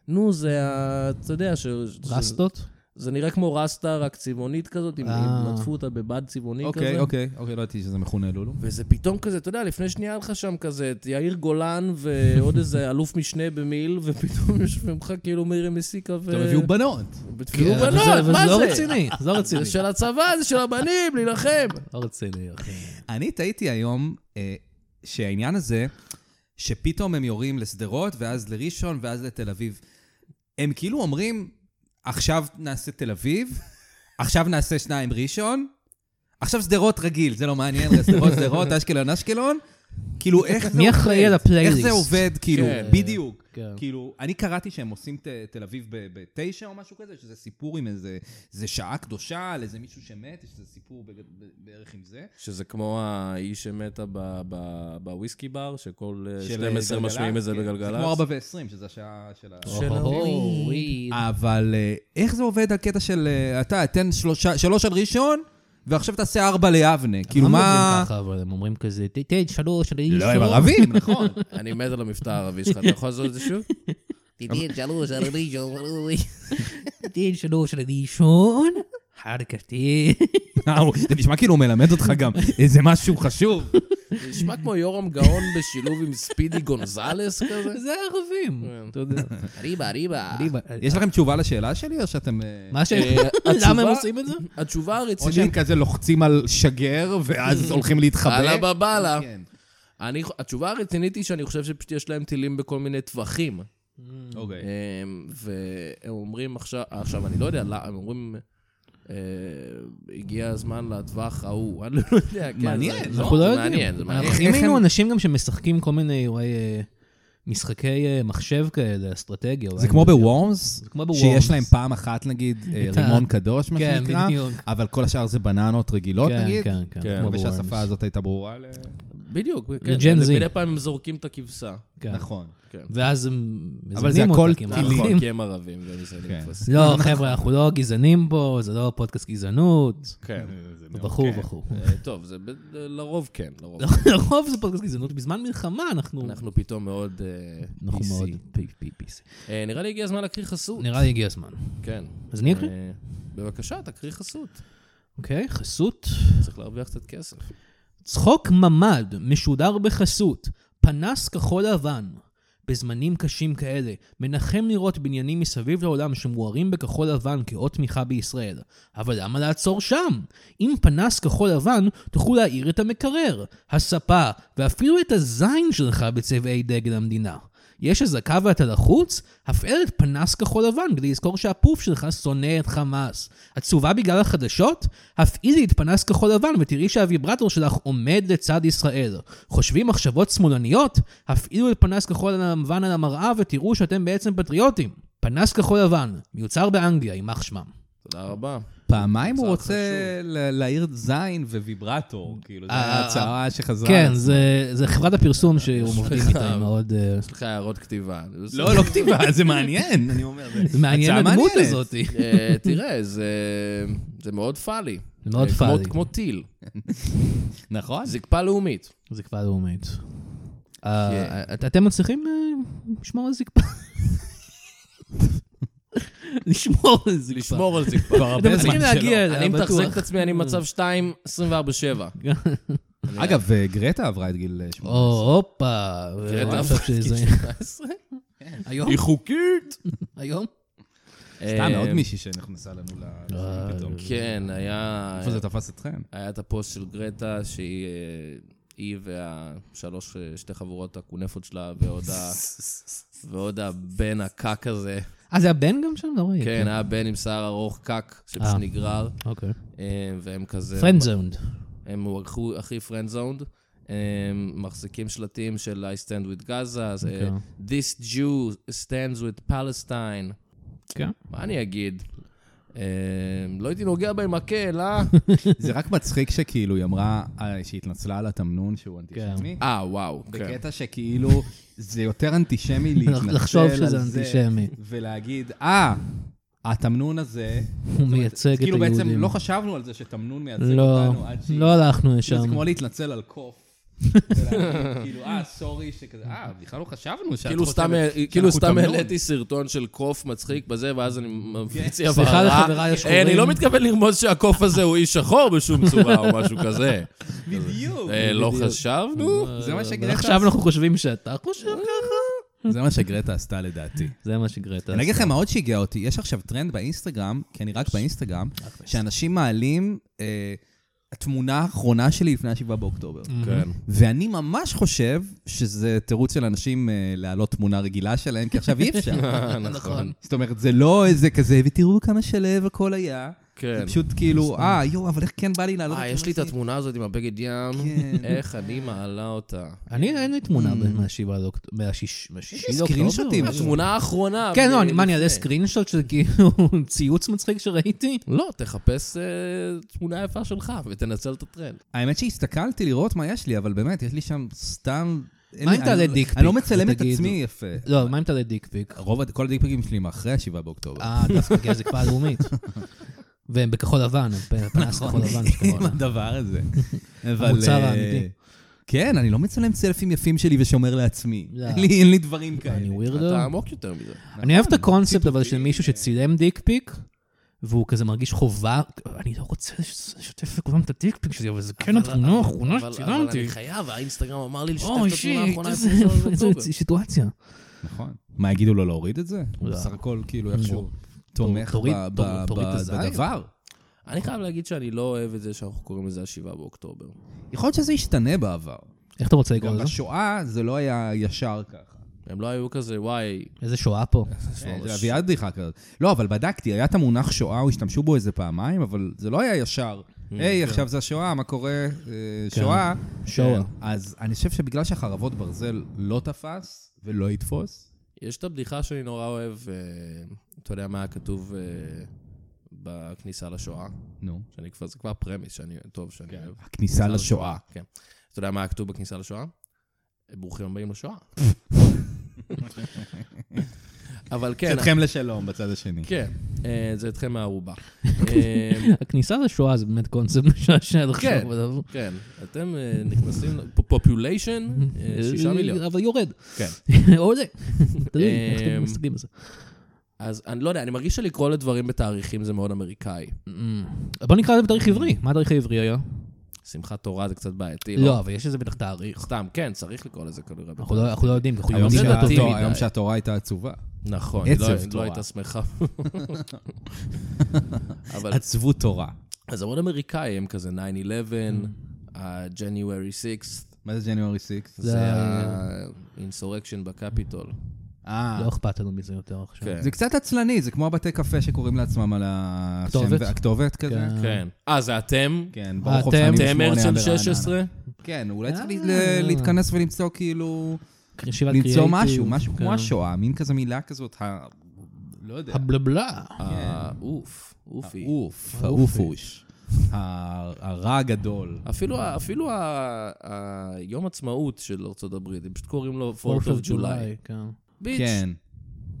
Speaker 1: נו, זה ה... אתה יודע ש... ש-
Speaker 2: רסטות?
Speaker 1: זה נראה כמו רסטה, רק צבעונית כזאת, עם-
Speaker 2: אה.
Speaker 1: עם- עטפו אותה בבד צבעוני כזה.
Speaker 3: אוקיי, אוקיי, אוקיי, לא ידעתי שזה מכונה לולו.
Speaker 1: וזה פתאום כזה, אתה יודע, לפני שנייה היה לך שם כזה את יאיר גולן ועוד איזה [laughs] אלוף משנה במיל, ופתאום [laughs] יושבים לך כאילו מירי מסיקה ו...
Speaker 3: עכשיו הביאו בנות.
Speaker 1: ותפילו
Speaker 2: כן, אבל זה-
Speaker 1: בנות,
Speaker 2: אבל
Speaker 1: מה
Speaker 2: זה? לא
Speaker 1: זה?
Speaker 2: רציני, זה לא רציני.
Speaker 1: זה של הצבא, זה של הבנים, להילחם.
Speaker 2: לא רציני, אחי.
Speaker 3: אני תהיתי היום אה, שהעניין הזה, שפתאום הם יורים לשדרות, ואז לראשון, ואז לתל אביב. הם כאילו אומרים, עכשיו נעשה תל אביב, עכשיו נעשה שניים ראשון, עכשיו שדרות רגיל, זה לא מעניין, שדרות,
Speaker 2: [laughs]
Speaker 3: שדרות, אשקלון, אשקלון. כאילו, איך זה עובד?
Speaker 2: מי אחראי על הפלייליסט?
Speaker 3: איך זה עובד, כאילו,
Speaker 1: כן.
Speaker 3: בדיוק.
Speaker 2: כן.
Speaker 3: כאילו, אני קראתי שהם עושים ת, תל אביב ב- בתשע או משהו כזה, שזה סיפור עם איזה, זה שעה קדושה על איזה מישהו שמת, יש איזה סיפור בג- ב- בערך עם זה.
Speaker 1: שזה כמו האיש שמתה ב- ב- בוויסקי בר, שכל אה,
Speaker 3: של
Speaker 1: 12
Speaker 3: גלגלצ,
Speaker 1: משמיעים את זה
Speaker 3: כן. זה
Speaker 1: בגלגלצ.
Speaker 3: כמו 4 ו-20, שזה השעה של ה...
Speaker 1: של
Speaker 2: אוקיי.
Speaker 1: הורי.
Speaker 3: אבל אה, איך זה עובד הקטע של... אה, אתה, תן שלושה- שלוש על ראשון, ועכשיו תעשה ארבע ליבנה. כאילו,
Speaker 2: הם לא
Speaker 3: מה...
Speaker 2: מדברים ככה, אבל הם אומרים כזה, תיתן שלוש, אני
Speaker 3: לא, הם ערבים, נכון.
Speaker 1: אני מת על המבטא הערבי שלך, אתה יכול לעשות את זה
Speaker 2: [laughs]
Speaker 1: שוב?
Speaker 5: תתן שלוש, ארבעים, שלוש.
Speaker 2: תיתן שלוש, אני לישון, אחר כך תהיה.
Speaker 3: אה, זה נשמע כאילו הוא מלמד אותך גם איזה משהו חשוב.
Speaker 1: זה נשמע כמו יורם גאון בשילוב עם ספידי גונזלס
Speaker 2: [laughs]
Speaker 1: כזה. כן.
Speaker 2: זה ערבים, אתה יודע.
Speaker 5: ריבה, ריבה.
Speaker 2: [laughs] אני-
Speaker 3: יש לכם תשובה לשאלה שלי, או שאתם... אה,
Speaker 2: מה ש...
Speaker 1: אה,
Speaker 2: [laughs] למה הם
Speaker 1: התשובה-
Speaker 2: עושים את זה?
Speaker 1: התשובה
Speaker 3: או שהם
Speaker 1: הרצינית,
Speaker 3: כזה לוחצים על שגר, ואז הולכים להתחבא?
Speaker 1: אללה בבאללה.
Speaker 2: אוקיי.
Speaker 3: כן.
Speaker 1: אני, התשובה הרצינית היא שאני חושב שפשוט יש להם טילים בכל מיני טווחים.
Speaker 3: אוקיי.
Speaker 1: אמ, והם אומרים עכשיו, עכשיו, אני לא יודע, לא, הם אומרים, אה, הגיע הזמן לטווח ההוא, [laughs] אני לא יודע. כן,
Speaker 3: מעניין,
Speaker 1: זה-
Speaker 2: אנחנו לא
Speaker 1: זה
Speaker 2: יודעים.
Speaker 1: מעניין, זה מעניין.
Speaker 2: אנחנו- אם
Speaker 3: איך
Speaker 2: היינו
Speaker 3: הם-
Speaker 2: אנשים גם שמשחקים כל מיני אולי, אה, משחקי אה, מחשב כאלה, אסטרטגיה. אולי
Speaker 3: זה
Speaker 2: הם
Speaker 3: כמו
Speaker 2: יודעים.
Speaker 3: בוורמס?
Speaker 2: זה כמו בוורמס.
Speaker 3: שיש להם פעם אחת, נגיד, אה,
Speaker 2: את ה-
Speaker 3: רימון קדוש, מה
Speaker 2: כן,
Speaker 3: שנקרא,
Speaker 2: בדיוק.
Speaker 3: אבל כל השאר זה בננות רגילות,
Speaker 2: כן,
Speaker 3: נגיד?
Speaker 2: כן, כן.
Speaker 1: כן,
Speaker 2: כמו
Speaker 3: אני מקווה שהשפה
Speaker 2: בוורמס.
Speaker 3: הזאת הייתה ברורה ל...
Speaker 1: בדיוק, כן.
Speaker 2: לג'ן זי.
Speaker 1: מדי פעם הם זורקים את הכבשה.
Speaker 2: כן.
Speaker 3: נכון.
Speaker 1: כן.
Speaker 2: ואז הם
Speaker 3: אבל זה
Speaker 2: מזמנים
Speaker 3: הכל
Speaker 2: אותה, כי הם
Speaker 3: טילים.
Speaker 2: ערבים.
Speaker 1: נכון, כי הם ערבים, והם ישראלים
Speaker 3: כן.
Speaker 1: תפסים.
Speaker 2: לא, חבר'ה, אנחנו לא גזענים פה, זה לא פודקאסט גזענות,
Speaker 1: כן.
Speaker 2: וכו' וכו'. [laughs]
Speaker 1: אה, טוב, זה ב- לרוב כן, לרוב.
Speaker 2: לרוב זה פודקאסט גזענות, בזמן מלחמה אנחנו...
Speaker 1: אנחנו פתאום מאוד אה,
Speaker 2: אנחנו
Speaker 1: PC.
Speaker 2: מאוד PPC.
Speaker 1: אה, נראה לי הגיע הזמן להקריא חסות.
Speaker 2: נראה לי הגיע הזמן.
Speaker 1: כן.
Speaker 2: אז אני אקריא?
Speaker 1: אה, בבקשה, תקריא חסות.
Speaker 2: אוקיי, חסות.
Speaker 1: צריך להרוויח קצת כסף.
Speaker 2: צחוק ממ"ד משודר בחסות, פנס כחול לבן. בזמנים קשים כאלה, מנחם לראות בניינים מסביב לעולם שמוארים בכחול לבן כאות תמיכה בישראל. אבל למה לעצור שם? עם פנס כחול לבן, תוכלו להאיר את המקרר, הספה, ואפילו את הזין שלך בצבעי דגל המדינה. יש אזעקה ואתה לחוץ? הפעל את פנס כחול לבן כדי לזכור שהפוף שלך שונא את חמאס. עצובה בגלל החדשות? הפעילי את פנס כחול לבן ותראי שהוויברטור שלך עומד לצד ישראל. חושבים מחשבות שמאלניות? הפעילו את פנס כחול לבן על המראה ותראו שאתם בעצם פטריוטים. פנס כחול לבן, מיוצר באנגליה, יימח שמם.
Speaker 1: תודה רבה.
Speaker 3: פעמיים הוא
Speaker 1: צעד
Speaker 3: רוצה ל- להעיר זין וויברטור, כאילו, זו
Speaker 2: אה, אה,
Speaker 3: ההצהרה שחזרה.
Speaker 2: כן, זה- זה חברת הפרסום [laughs] שהוא מוביל איתה, היא מאוד... אה,
Speaker 1: יש לך הערות כתיבה. זה בסדר.
Speaker 3: לא, לא כתיבה, [laughs] זה מעניין, אני אומר.
Speaker 2: [laughs] זה מעניין
Speaker 3: הצעה
Speaker 2: הדמות
Speaker 3: מעניינת.
Speaker 2: הזאת.
Speaker 1: אה, תראה, זה- זה מאוד פאלי.
Speaker 2: זה מאוד
Speaker 1: אה, כמו-
Speaker 2: פאלי.
Speaker 1: כמו טיל.
Speaker 3: נכון.
Speaker 1: זקפה לאומית.
Speaker 2: זקפה לאומית. לא אה,
Speaker 3: כן.
Speaker 2: את- אתם מצליחים אה, לשמור על זקפה? [laughs] לשמור על זקפה.
Speaker 1: לשמור [laughs] על זקפה.
Speaker 3: כבר הרבה
Speaker 2: אתם
Speaker 3: זמן
Speaker 2: צריכים להגיע
Speaker 3: שלא.
Speaker 2: אליה,
Speaker 1: אני מתחזק את
Speaker 2: כן, בטוח.
Speaker 1: עצמי, אני במצב 2,
Speaker 2: [laughs]
Speaker 1: 24-7.
Speaker 3: אגב, אה, גרטה עברה את גיל אה,
Speaker 2: או,
Speaker 3: 18.
Speaker 2: הופה.
Speaker 3: כן,
Speaker 1: תראה את
Speaker 2: אה,
Speaker 1: האף
Speaker 2: עכשיו שזה- היום?
Speaker 3: היא חוקית.
Speaker 2: היום?
Speaker 3: סתם, עוד מישהי שנכנסה לנו ל-
Speaker 2: אה,
Speaker 3: פתאום.
Speaker 1: אה, כן, היה...
Speaker 3: איפה זה
Speaker 2: [laughs]
Speaker 3: תפס אתכם?
Speaker 1: היה את הפוסט של גרטה, שהיא אה, היא והשלוש, אה, שתי חבורות הכונפות שלה, ועוד ה-
Speaker 2: [laughs]
Speaker 1: ועוד הבן הקק הזה.
Speaker 2: אה, זה הבן גם שם? לא ראיתי.
Speaker 1: כן, היה בן עם שיער ארוך קק, שפשוט
Speaker 2: אה.
Speaker 1: נגרר,
Speaker 2: אוקיי.
Speaker 1: אה, והם כזה...
Speaker 2: פרנד זונד.
Speaker 1: הם הלכו הכי פרנד זונד. מחזיקים שלטים של I stand with Gaza, זה,
Speaker 2: אוקיי.
Speaker 1: This Jew stands with Palestine.
Speaker 2: כן.
Speaker 1: מה אני אגיד? אה, לא הייתי נוגע במקל,
Speaker 2: [laughs]
Speaker 1: אה?
Speaker 3: זה רק מצחיק שכאילו היא אמרה אה, שהיא התנצלה על התמנון שהוא אנטישמי.
Speaker 1: אה, וואו. כן.
Speaker 3: בקטע שכאילו זה
Speaker 2: [laughs]
Speaker 3: יותר אנטישמי להתנצל
Speaker 2: לחשוב
Speaker 3: על
Speaker 2: שזה
Speaker 3: זה
Speaker 2: אנטישמי.
Speaker 3: ולהגיד, אה, התמנון הזה...
Speaker 2: הוא מייצג את
Speaker 3: כאילו בעצם
Speaker 2: היהודים.
Speaker 3: לא חשבנו על זה שתמנון מייצג
Speaker 2: לא,
Speaker 3: אותנו עד שהיא...
Speaker 2: לא הלכנו לשם.
Speaker 3: כאילו, זה כמו להתנצל על
Speaker 2: [laughs]
Speaker 3: קוף. ולהגיד, כאילו, אה, סורי, שכזה, אה, בכלל לא חשבנו שאת
Speaker 1: כאילו סתם,
Speaker 3: חושבת
Speaker 1: כאילו
Speaker 3: שאנחנו
Speaker 1: סתם
Speaker 3: תמנון."
Speaker 1: העליתי סרטון של קוף מצחיק בזה, ואז אני מפיץ הבהרה.
Speaker 2: סליחה לחבריי
Speaker 1: אה,
Speaker 2: השחורים.
Speaker 1: אני לא מתכוון לרמוז שהקוף הזה הוא איש שחור בשום צורה או משהו
Speaker 2: [laughs]
Speaker 1: כזה.
Speaker 3: בדיוק.
Speaker 1: אה, לא חשבנו?
Speaker 3: זה מה שגרטה
Speaker 2: עכשיו אנחנו חושבים שאתה חושב
Speaker 3: אה.
Speaker 2: ככה?
Speaker 3: זה מה שגרטה עשתה לדעתי.
Speaker 2: זה מה שגרטה.
Speaker 3: אני אגיד לכם מה עוד שיגע אותי, יש עכשיו טרנד באינסטגרם, כי אני רק באינסטגרם, שאנשים מעלים אה, התמונה האחרונה שלי לפני ה-7 באוקטובר.
Speaker 1: כן.
Speaker 3: ואני ממש חושב שזה תירוץ של אנשים אה, להעלות תמונה רגילה שלהם, כי עכשיו אי אפשר.
Speaker 1: [laughs] נכון.
Speaker 3: זאת אומרת, זה לא איזה כזה, ותראו כמה שלב הכל היה.
Speaker 1: כן.
Speaker 3: זה פשוט כאילו, אה, יואו, אבל איך כן בא לי לעלות
Speaker 1: אה, יש לי את התמונה הזאת עם הבגד ים,
Speaker 3: כן.
Speaker 1: איך אני מעלה אותה.
Speaker 2: אני, אין לי תמונה
Speaker 3: Mm.
Speaker 2: מהשישי באוקטובר. יש
Speaker 3: סקרינשוטים.
Speaker 1: התמונה האחרונה.
Speaker 2: כן, לא,
Speaker 1: אה,
Speaker 2: אני- מה, אני
Speaker 1: לפני.
Speaker 2: אעלה סקרינשוט של כאילו [laughs] ציוץ מצחיק שראיתי?
Speaker 1: לא, תחפש אה, תמונה יפה שלך ותנצל את הטרנד.
Speaker 3: האמת שהסתכלתי לראות מה יש לי, אבל באמת, יש לי שם סתם... אין
Speaker 2: מה
Speaker 3: לי-
Speaker 2: אם
Speaker 3: אני-
Speaker 2: תעלה דיק
Speaker 3: אני לא
Speaker 2: פיק,
Speaker 3: מצלם את
Speaker 2: תגיד?
Speaker 3: עצמי יפה.
Speaker 2: לא, מה אם תעלה דיק פיק?
Speaker 3: רוב, הד- כל הדיקפיקים שלי הם אחרי ה-7 באוקטובר.
Speaker 2: אה,
Speaker 1: [laughs]
Speaker 2: דווקא כי זה כבר לאומית. והם בכחול לבן, הם פנס
Speaker 1: נכון.
Speaker 2: כחול לבן.
Speaker 3: נכון. עם
Speaker 1: [laughs]
Speaker 3: הדבר
Speaker 2: [laughs]
Speaker 3: הזה. אבל,
Speaker 2: המוצר
Speaker 3: אה,
Speaker 2: האמיתי.
Speaker 3: כן, אני לא מצלם סלפים יפים שלי ושומר לעצמי.
Speaker 2: לא.
Speaker 3: אין לי- אין לי דברים
Speaker 2: אני
Speaker 3: כאלה.
Speaker 2: ווירדו.
Speaker 1: כן, אתה נכון. עמוק יותר מזה.
Speaker 2: אני אוהב את הקונספט אבל של מישהו שצילם דיק פיק, והוא כזה מרגיש חובה, אני לא רוצה לש- לשתף לכולם את הדיק פיק שלי, אבל זה כן התמונה האחרונה
Speaker 1: אבל- אבל
Speaker 2: שצילמתי.
Speaker 1: אני חייב, האינסטגרם אמר לי לשתף
Speaker 2: אוי,
Speaker 1: את התמונה
Speaker 2: שיט,
Speaker 1: האחרונה.
Speaker 2: איזה
Speaker 1: לפני שלוש
Speaker 2: [laughs] איזה
Speaker 1: באוקטובר.
Speaker 2: סיטואציה.
Speaker 3: נכון. מה, יגידו לו להוריד את זה? הוא
Speaker 2: לא.
Speaker 3: בסך הכל כאילו איכשהו תומך
Speaker 2: תוריד-
Speaker 3: ב-
Speaker 2: תוריד-
Speaker 3: ב-
Speaker 2: תוריד את הזין.
Speaker 3: בדבר.
Speaker 1: אני חייב להגיד שאני לא אוהב את זה שאנחנו קוראים לזה השבעה באוקטובר.
Speaker 3: יכול להיות שזה ישתנה בעבר.
Speaker 2: איך אתה רוצה לקרוא
Speaker 3: גם
Speaker 2: לזה?
Speaker 3: בשואה זה לא היה ישר ככה.
Speaker 1: הם לא היו כזה, וואי,
Speaker 2: איזה שואה פה. [laughs]
Speaker 3: כן, זה אביעד בדיחה כזאת. לא, אבל בדקתי, היה את המונח שואה, הוא השתמשו בו איזה פעמיים, אבל זה לא היה ישר.
Speaker 1: Mm, אה, כן.
Speaker 3: היי, עכשיו זה השואה, מה קורה? אה, שואה.
Speaker 2: שואה.
Speaker 3: כן, אז אני חושב שבגלל שחרבות ברזל לא תפס ולא יתפוס,
Speaker 1: יש את הבדיחה שאני נורא אוהב, אה, אתה יודע מה היה כתוב אה, בכניסה לשואה?
Speaker 3: נו.
Speaker 1: שאני כבר, זה כבר פרמיס, שאני, טוב שאני אוהב.
Speaker 3: הכניסה לשואה.
Speaker 1: כן. אתה יודע מה היה כתוב בכניסה לשואה? ברוכים הבאים
Speaker 3: [laughs]
Speaker 1: לשואה. אבל כן,
Speaker 3: צאתכם לשלום בצד השני.
Speaker 1: כן, אה, זה אתכם מהערובה.
Speaker 3: אוקיי.
Speaker 1: אה,
Speaker 2: הכניסה לשואה זה באמת קונספט משעשע לחשוב
Speaker 1: כן.
Speaker 2: עליו.
Speaker 1: כן, אתם אה, נכנסים, פופוליישן, אה, שישה מיליון.
Speaker 2: אה, אבל יורד. [laughs]
Speaker 1: כן.
Speaker 3: [laughs]
Speaker 2: עולה. תלוי,
Speaker 3: אמ,
Speaker 2: איך
Speaker 1: אה,
Speaker 2: אתם מסתכלים על זה.
Speaker 1: אז אני לא יודע, אני מרגיש שלקרוא לדברים בתאריכים זה מאוד אמריקאי.
Speaker 3: אמ,
Speaker 2: אה, בוא נקרא לזה בתאריך עברי. מה התאריך העברי היה?
Speaker 1: שמחת תורה זה קצת בעייתי.
Speaker 2: לא, אבל יש לזה בטח תאריך.
Speaker 1: סתם, כן, צריך לקרוא לזה כנראה.
Speaker 2: אנחנו לא- אנחנו לא יודעים, אנחנו
Speaker 3: היום
Speaker 2: יודעים
Speaker 1: זה
Speaker 3: שהתורה-
Speaker 1: דתי
Speaker 2: שהטוב.
Speaker 1: מדי.
Speaker 3: היום שהתורה הייתה עצובה.
Speaker 1: נכון,
Speaker 3: עצב
Speaker 1: לא- לא
Speaker 3: תורה.
Speaker 1: הייתה שמחה. אבל,
Speaker 3: עצבות תורה.
Speaker 1: אז המון אמריקאי הם כזה 9-11, ה-January 6th,
Speaker 3: מה זה ג'ניוארי 6?
Speaker 1: זה
Speaker 2: ה-
Speaker 1: ה-insurrection בקפיטול.
Speaker 3: אה.
Speaker 2: לא אכפת לנו מזה יותר עכשיו.
Speaker 1: כן.
Speaker 3: זה קצת עצלני, זה כמו הבתי קפה שקוראים לעצמם על השם
Speaker 2: כתובת?
Speaker 3: והכתובת כזה.
Speaker 2: כן.
Speaker 1: כן. אה, זה אתם?
Speaker 3: כן,
Speaker 2: אה,
Speaker 3: ברוך
Speaker 2: אתם-
Speaker 1: אתם הרצל 16?
Speaker 3: כן, אולי צריך
Speaker 2: אה.
Speaker 3: ל- להתכנס ולמצוא כאילו...
Speaker 2: כן. ישיבת
Speaker 3: למצוא
Speaker 2: קריאייטיב.
Speaker 3: משהו, משהו
Speaker 2: כן.
Speaker 3: כמו השואה, מין כזה מילה כזאת, ה-
Speaker 4: לא יודע.
Speaker 2: הבלבלה.
Speaker 1: האוף, אה,
Speaker 3: אה,
Speaker 1: אופי.
Speaker 3: העוף, העופוש. ה- הרע הגדול.
Speaker 1: אפילו, אפילו ה- ה- יום עצמאות של ארצות הברית, הם פשוט קוראים לו 4th
Speaker 2: Fourth
Speaker 1: of
Speaker 2: of
Speaker 1: July.
Speaker 2: July, כן,
Speaker 1: ביץ'.
Speaker 3: כן.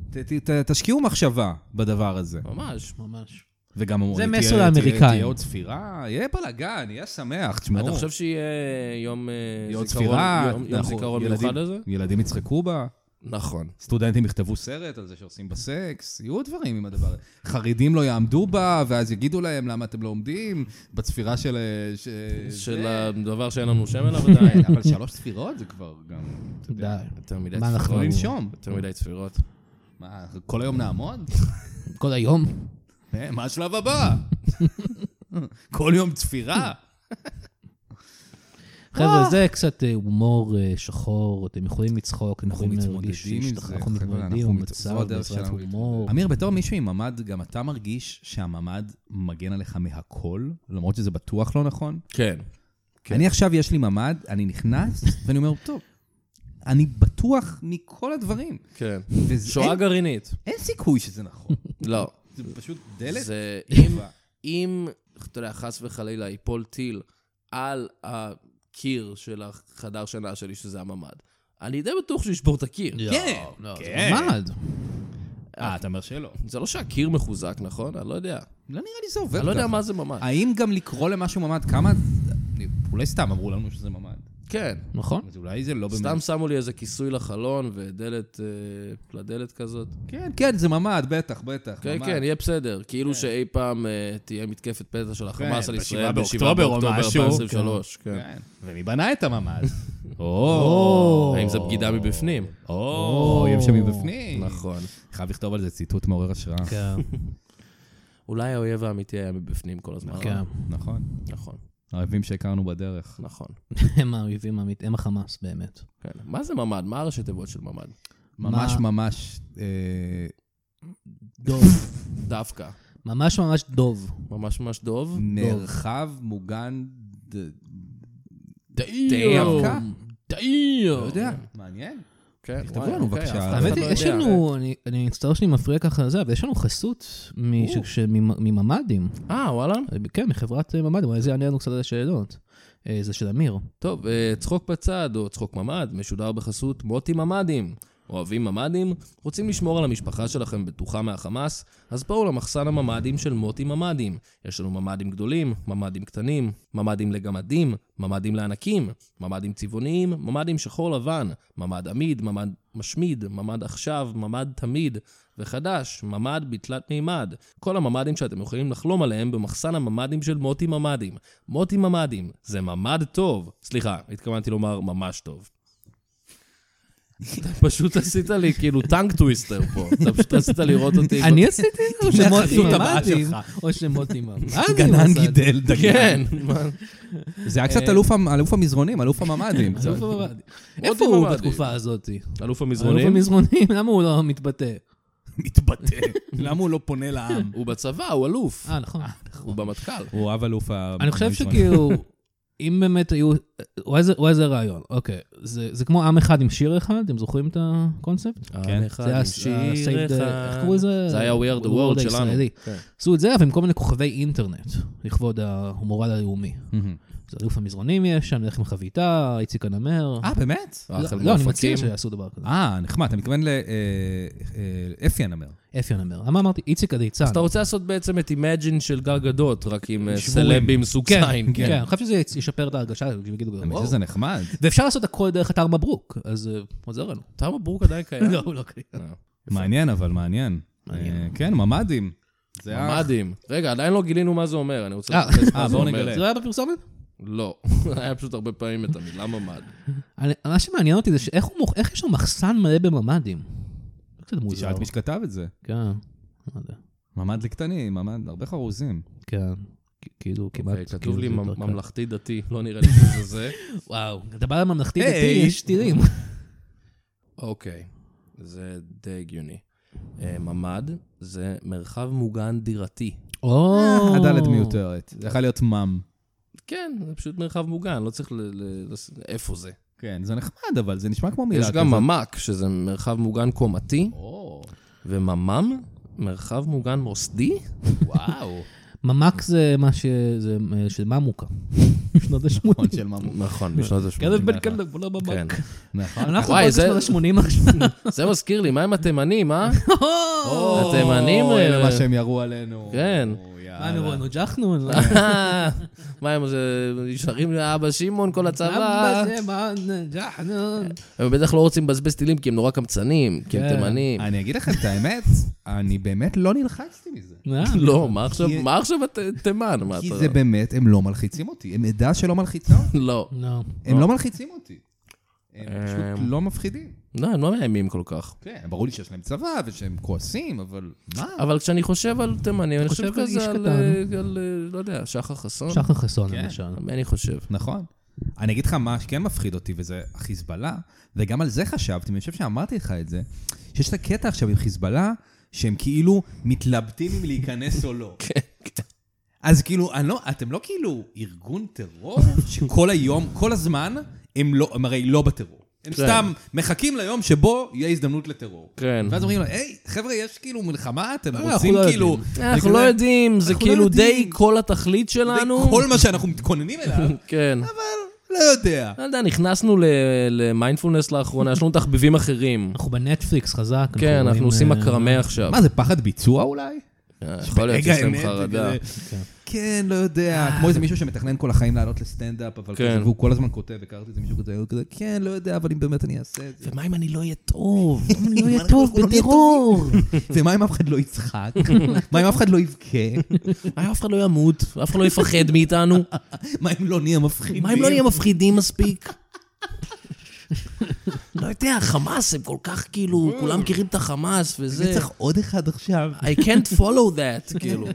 Speaker 3: ת- ת- ת- תשקיעו מחשבה בדבר הזה.
Speaker 1: ממש.
Speaker 2: ממש.
Speaker 3: וגם אמרו,
Speaker 2: זה
Speaker 3: תהיה-
Speaker 2: מסר
Speaker 3: תהיה-
Speaker 2: לאמריקאים.
Speaker 3: תהיה עוד ספירה, יהיה בלאגן, יהיה שמח, תשמעו.
Speaker 1: אתה חושב שיהיה יום אה,
Speaker 3: יהיה עוד
Speaker 1: זיכרון-
Speaker 3: ספירה,
Speaker 1: יום- יום
Speaker 3: אנחנו-
Speaker 1: זיכרון
Speaker 3: נכון, ילדים-
Speaker 1: מיוחד לזה?
Speaker 3: ילדים יצחקו בה,
Speaker 1: נכון.
Speaker 3: סטודנטים יכתבו סרט על זה שעושים בה סקס, יהיו דברים עם הדבר הזה. חרדים לא יעמדו בה, ואז יגידו להם למה אתם לא עומדים בצפירה של... אה, ש-
Speaker 1: של
Speaker 3: זה."
Speaker 1: הדבר שאין לנו שם אליו עדיין.
Speaker 3: [laughs] אבל שלוש ספירות זה כבר גם...
Speaker 2: די.
Speaker 1: יותר מדי
Speaker 2: מה, אנחנו
Speaker 1: צפירות.
Speaker 3: ננשום?
Speaker 1: יותר מדי צפירות.
Speaker 3: מה, כל היום נעמוד?
Speaker 2: כל היום?
Speaker 3: אה, מה השלב הבא? [laughs] כל יום צפירה?
Speaker 2: חבר'ה, זה קצת אה, הומור אה, שחור, אתם יכולים לצחוק, אתם
Speaker 3: אנחנו
Speaker 2: יכולים להרגיש
Speaker 3: מתמודדים עם
Speaker 2: שהשתח-
Speaker 3: זה,
Speaker 2: אנחנו
Speaker 3: חבר'ה,
Speaker 2: מתמודדים
Speaker 3: אנחנו
Speaker 2: עם
Speaker 3: מת- זו
Speaker 2: המצב
Speaker 3: הדרך
Speaker 2: בעזרת
Speaker 3: שלנו
Speaker 2: הומור.
Speaker 3: אמיר, בתור מישהו עם ממ"ד, גם אתה מרגיש שהממ"ד מגן עליך מהכל, למרות שזה בטוח לא נכון?
Speaker 1: כן.
Speaker 3: כן. אני עכשיו, יש לי ממ"ד, אני [laughs] נכנס, ואני אומר, טוב, אני בטוח מכל הדברים.
Speaker 1: כן.
Speaker 3: וזה-
Speaker 1: שואה
Speaker 3: אין-
Speaker 1: גרעינית.
Speaker 3: אין סיכוי שזה [laughs] נכון.
Speaker 1: לא.
Speaker 3: זה פשוט דלת. לא,
Speaker 1: זה אם, אם, אתה יודע, חס וחלילה ייפול טיל על הקיר של החדר שינה שלי, שזה הממ"ד, אני די בטוח שהוא ישבור את הקיר.
Speaker 2: כן,
Speaker 3: כן.
Speaker 2: ממ"ד.
Speaker 4: אה, אתה אומר שלא.
Speaker 1: זה לא שהקיר מחוזק, נכון? אני לא יודע.
Speaker 3: לא נראה לי זה עובר
Speaker 1: אני לא יודע
Speaker 3: ככה.
Speaker 1: מה זה ממ"ד.
Speaker 3: האם גם לקרוא למשהו ממ"ד, כמה... אני- אולי סתם אמרו לנו שזה ממ"ד.
Speaker 1: כן.
Speaker 2: נכון?
Speaker 3: אז אולי זה לא באמת...
Speaker 1: סתם שמו לי איזה כיסוי לחלון ודלת אה, לדלת כזאת.
Speaker 3: כן, כן, זה ממ"ד, בטח, בטח.
Speaker 1: כן,
Speaker 3: ממ"ד.
Speaker 1: כן, יהיה בסדר. כאילו שאי פעם אה, תהיה מתקפת פתע של החמאס על
Speaker 4: בשבעה
Speaker 1: ישראל
Speaker 4: באוקטובר או משהו.
Speaker 1: 2023. כן.
Speaker 4: כן. ומי בנה את הממ"ד?
Speaker 2: או.
Speaker 1: האם זה בגידה מבפנים?
Speaker 4: או,
Speaker 3: אויב שמבפנים.
Speaker 1: נכון.
Speaker 3: חייב לכתוב על זה ציטוט מעורר השראה.
Speaker 2: כן,
Speaker 1: אולי האויב האמיתי היה מבפנים כל הזמן. לא?
Speaker 2: כן.
Speaker 3: נכון.
Speaker 1: נכון,
Speaker 3: האויבים שהכרנו בדרך.
Speaker 1: נכון.
Speaker 2: הם האויבים האמיתיים, הם החמאס באמת.
Speaker 1: כן. מה זה ממ"ד? מה הראשי תיבות של ממ"ד?
Speaker 3: ממש
Speaker 2: מה-
Speaker 3: ממש... אה,
Speaker 2: דוב.
Speaker 1: דווקא.
Speaker 2: ממש ממש דוב.
Speaker 1: ממש ממש דוב.
Speaker 3: מרחב מוגן... ד-
Speaker 1: דווקא?
Speaker 3: לא יודע. מעניין.
Speaker 1: כן,
Speaker 3: תכתבו
Speaker 1: וואי,
Speaker 3: לנו
Speaker 1: אוקיי,
Speaker 3: בבקשה.
Speaker 1: אף אחד
Speaker 2: האמת
Speaker 1: לא
Speaker 2: היא, יש
Speaker 1: יודע.
Speaker 2: לנו, אני- אני מצטער שאני מפריע ככה לזה, אבל יש לנו חסות מש- ש- ממ- מממ"דים.
Speaker 1: אה, וואלה?
Speaker 2: כן, מחברת אה, ממ"דים, אולי זה יענה לנו קצת על השאלות. אה, זה של אמיר.
Speaker 1: טוב, אה, צחוק בצד או צחוק ממ"ד משודר בחסות מוטי ממ"דים. אוהבים ממ"דים? רוצים לשמור על המשפחה שלכם בטוחה מהחמאס? אז בואו למחסן הממ"דים של מוטי ממ"דים. יש לנו ממ"דים גדולים, ממ"דים קטנים, ממ"דים לגמדים, ממ"דים לענקים, ממ"דים צבעוניים, ממ"דים שחור לבן, ממ"ד עמיד, ממ"ד משמיד, ממ"ד עכשיו, ממ"ד תמיד, וחדש, ממ"ד בתלת מימד. כל הממ"דים שאתם יכולים לחלום עליהם במחסן הממ"דים של מוטי ממ"דים. מוטי ממ"דים, זה ממ"ד טוב. סליחה, התכוונתי לומר ממש טוב. אתה פשוט עשית לי כאילו טנק טוויסטר פה. אתה פשוט רצית לראות אותי.
Speaker 2: אני עשיתי את זה, או שמוטי
Speaker 3: החסות הבאה
Speaker 2: ממ"דים,
Speaker 3: שלך.
Speaker 2: או שמוטי ממ"דים.
Speaker 3: גנן
Speaker 2: עשה את זה.
Speaker 3: גידל דגן.
Speaker 1: כן, מה?
Speaker 3: זה היה קצת אלוף המ- אלוף המזרונים, אלוף הממ"דים.
Speaker 2: אלוף הממ"דים.
Speaker 1: מוטי
Speaker 2: איפה הוא
Speaker 1: ממ"דים.
Speaker 2: בתקופה הזאת?
Speaker 1: אלוף
Speaker 2: אלוף
Speaker 1: המזרונים?
Speaker 2: המזרונים, למה הוא לא מתבטא?
Speaker 3: [laughs] מתבטא. למה הוא לא פונה לעם?
Speaker 1: הוא בצבא, הוא אלוף.
Speaker 2: אה, נכון.
Speaker 1: הוא במטכ"ל.
Speaker 3: הוא אהב אלוף ה...
Speaker 2: אני חושב
Speaker 3: המזרונים.
Speaker 2: שכאילו, אם באמת היו, או איזה- או איזה רעיון, אוקיי. זה זה כמו עם אחד עם שיר אחד, אתם זוכרים את הקונספט?
Speaker 1: עם אחד, עם שיר
Speaker 2: ה-Save the- איך קראו
Speaker 1: אחד.
Speaker 2: לזה?
Speaker 1: זה היה We are the world שלנו.
Speaker 2: הישראלי.
Speaker 1: כן.
Speaker 2: עשו את זה, אבל עם כל מיני כוכבי אינטרנט, לכבוד ההומורל הלאומי.
Speaker 3: מהמם.
Speaker 2: אז אלוף המזרונים יש שם, נלך עם חביתה, איציק הנמר.
Speaker 3: אה, באמת?
Speaker 1: האחל
Speaker 2: לא, אני
Speaker 1: מאופקים.
Speaker 2: מציע שיעשו דבר כזה.
Speaker 3: אה, נחמד. אתה מתכוון אה, לאפי הנמר.
Speaker 2: אפי הנמר. מה אמרתי? איציק הליצן.
Speaker 1: אז אתה רוצה לעשות בעצם את אימג'ין של גל גדות, רק עם אה, סלבים סוג
Speaker 2: כן,
Speaker 1: זין.
Speaker 2: כן. אני חושב שזה יצ- ישפר את ההרגשה, יגידו,
Speaker 3: האמת
Speaker 2: "וואו".
Speaker 3: שזה נחמד.
Speaker 2: ואפשר לעשות הכל דרך אתר מברוק, אז אה, עוזר לנו.
Speaker 1: תמה ברוק עדיין קיים.
Speaker 2: לא, הוא לא קיים.
Speaker 3: מעניין, אבל מעניין. אה, כן, ממ"דים. זה היה...
Speaker 1: מדהים. רגע, עדיין לא גילינו מה זה אומר, אני רוצה
Speaker 2: אה,
Speaker 1: לחפש מה
Speaker 3: אה,
Speaker 1: זה
Speaker 3: בואו
Speaker 1: אומר.
Speaker 3: נגלה.
Speaker 2: זה היה בפרסומת?
Speaker 1: לא, [laughs] היה פשוט הרבה פעמים את המילה ממ"ד.
Speaker 2: אני- מה שמעניין אותי זה שאיך הוא מוכ- איך יש לו מחסן מלא בממ"דים. זה קצת מוזר.
Speaker 3: תשאל את מי שכתב את זה.
Speaker 2: כן, לא יודע.
Speaker 3: ממ"ד לקטנים, ממ"ד, הרבה חרוזים.
Speaker 2: כן. כ- כאילו, כמעט...
Speaker 1: אוקיי, כתוב
Speaker 2: כאילו,
Speaker 1: לי
Speaker 2: זה יותר קל.
Speaker 1: ממלכתי-דתי, לא נראה לי שזה זה. [laughs]
Speaker 2: וואו, אתה בא לממלכתי
Speaker 3: היי.
Speaker 2: דתי, יש טילים.
Speaker 1: אוקיי, זה די הגיוני. אה, ממ"ד זה מרחב מוגן דירתי.
Speaker 2: או...
Speaker 3: הדלת מיותרת. זה יכול להיות ממ.
Speaker 1: כן, זה פשוט מרחב מוגן, לא צריך ל... ל- לס- איפה זה?
Speaker 3: כן, זה נחמד, אבל זה נשמע כמו מילה
Speaker 1: יש
Speaker 3: כזאת.
Speaker 1: גם ממ"ק, שזה מרחב מוגן קומתי,
Speaker 3: או,
Speaker 1: וממ"ם מרחב מוגן מוסדי?
Speaker 3: וואו.
Speaker 2: ממ"ק זה מה ש... זה אה, של ממוקה. [laughs] בשנות
Speaker 3: עוד
Speaker 2: ה-80.
Speaker 3: של ממות.
Speaker 1: נכון, בשנות ה-80.
Speaker 2: כלב בן כלב, לא ממ"ק.
Speaker 3: נכון.
Speaker 2: אנחנו
Speaker 1: וואי,
Speaker 2: רק
Speaker 1: זה-
Speaker 2: בשנות ה-80 עכשיו.
Speaker 1: זה מזכיר לי, מה עם התימנים, אה?
Speaker 3: או,
Speaker 1: התימנים,
Speaker 3: אלה
Speaker 1: אה,
Speaker 3: מה שהם ירו עלינו.
Speaker 1: כן.
Speaker 3: או,
Speaker 2: מה
Speaker 3: יאללה.
Speaker 2: הם אמרו לנו? ג'חנו?
Speaker 1: [laughs] מה הם זה- נשארים לאבא שמעון כל הצבא?
Speaker 2: למה זה? מה? ג'חנו?
Speaker 1: הם בטח לא רוצים לבזבז טילים כי הם נורא קמצנים, כי הם
Speaker 2: כן.
Speaker 1: תימנים.
Speaker 6: אני-
Speaker 3: אני אגיד לכם את האמת, אני באמת לא נלחצתי מזה.
Speaker 1: [laughs]
Speaker 2: אה,
Speaker 1: לא, מה עכשיו,
Speaker 3: כי-
Speaker 1: מה עכשיו את- תימן? מה
Speaker 3: כי
Speaker 1: אתה-
Speaker 3: זה באמת, הם לא מלחיצים אותי. הם עדה שלא מלחיצה אותי.
Speaker 1: לא.
Speaker 2: לא.
Speaker 3: הם לא מלחיצים אותי. הם
Speaker 1: אמ,
Speaker 3: פשוט לא מפחידים.
Speaker 1: לא, הם לא מאיימים כל כך.
Speaker 3: כן, ברור לי שיש להם צבא ושהם כועסים, אבל מה?
Speaker 1: אבל כשאני חושב על תימנים, אני חושב
Speaker 2: חושב על
Speaker 1: כזה
Speaker 2: איש
Speaker 1: על,
Speaker 2: קטן.
Speaker 1: אה, על, אה, לא יודע, שחר חסון?
Speaker 2: שחר חסון,
Speaker 3: כן.
Speaker 2: למשל.
Speaker 1: מי אני
Speaker 2: [laughs]
Speaker 1: חושב?
Speaker 3: נכון. אני אגיד לך מה שכן מפחיד אותי, וזה חיזבאללה, וגם על זה חשבתי, ואני חושב שאמרתי לך את זה, שיש את הקטע עכשיו עם חיזבאללה, שהם כאילו מתלבטים אם להיכנס או לא.
Speaker 1: כן,
Speaker 3: אז כאילו, אני לא, אתם לא כאילו ארגון טרור, [laughs] שכל היום, כל הזמן, הם, לא, הם הרי לא בטרור. הם
Speaker 1: כן.
Speaker 3: סתם מחכים ליום שבו יהיה הזדמנות לטרור.
Speaker 1: כן.
Speaker 3: ואז אומרים לו, היי, חבר'ה, יש כאילו מלחמה, אתם
Speaker 2: אנחנו
Speaker 3: רוצים
Speaker 2: לא
Speaker 3: כאילו...
Speaker 1: אנחנו לא
Speaker 3: וכזה,
Speaker 1: יודעים, זה
Speaker 3: אנחנו לא
Speaker 1: כאילו די
Speaker 3: יודעים.
Speaker 1: כל התכלית שלנו.
Speaker 3: כל מה שאנחנו מתכוננים
Speaker 1: [laughs]
Speaker 3: אליו,
Speaker 1: כן.
Speaker 3: לא יודע.
Speaker 1: לא יודע, נכנסנו ל- למיינדפולנס לאחרונה, יש לנו תחביבים אחרים.
Speaker 2: אנחנו בנטפליקס חזק.
Speaker 1: כן, אנחנו
Speaker 2: רואים,
Speaker 1: עושים
Speaker 2: נכון. אה,
Speaker 1: הקרמה עכשיו.
Speaker 3: מה, זה פחד ביצוע אולי?
Speaker 1: אה, יכול להיות
Speaker 3: רגע,
Speaker 1: שיש להם
Speaker 3: אמת, אה,
Speaker 1: חרדה.
Speaker 3: וכזה, כן, לא יודע. כמו איזה מישהו שמתכנן כל החיים לעלות לסטנדאפ, אבל
Speaker 1: כן.
Speaker 3: כזה, והוא כל הזמן כותב, הכרתי את זה מישהו כזה, הוא כזה, כן, לא יודע, אבל אם באמת אני אעשה את זה.
Speaker 1: ומה אם אני לא אהיה כאילו, טוב? [laughs]
Speaker 3: אם
Speaker 2: אה,
Speaker 3: אני לא אהיה טוב בטרור. [laughs] ומה אם אף אחד לא יצחק?
Speaker 1: [laughs]
Speaker 3: מה אם אף אחד לא יבכה?
Speaker 1: מה אם אף אחד לא ימות? אף אחד לא
Speaker 3: [laughs]
Speaker 1: יפחד מאיתנו?
Speaker 3: מה אם לא נהיה מפחידים?
Speaker 1: מה אם לא נהיה מפחידים מספיק? [laughs] לא יודע, חמאס הם כל כך כאילו, כולם מכירים את החמאס וזה.
Speaker 3: אני צריך עוד אחד עכשיו.
Speaker 1: I can't follow
Speaker 3: [laughs]
Speaker 1: that, [laughs] כאילו.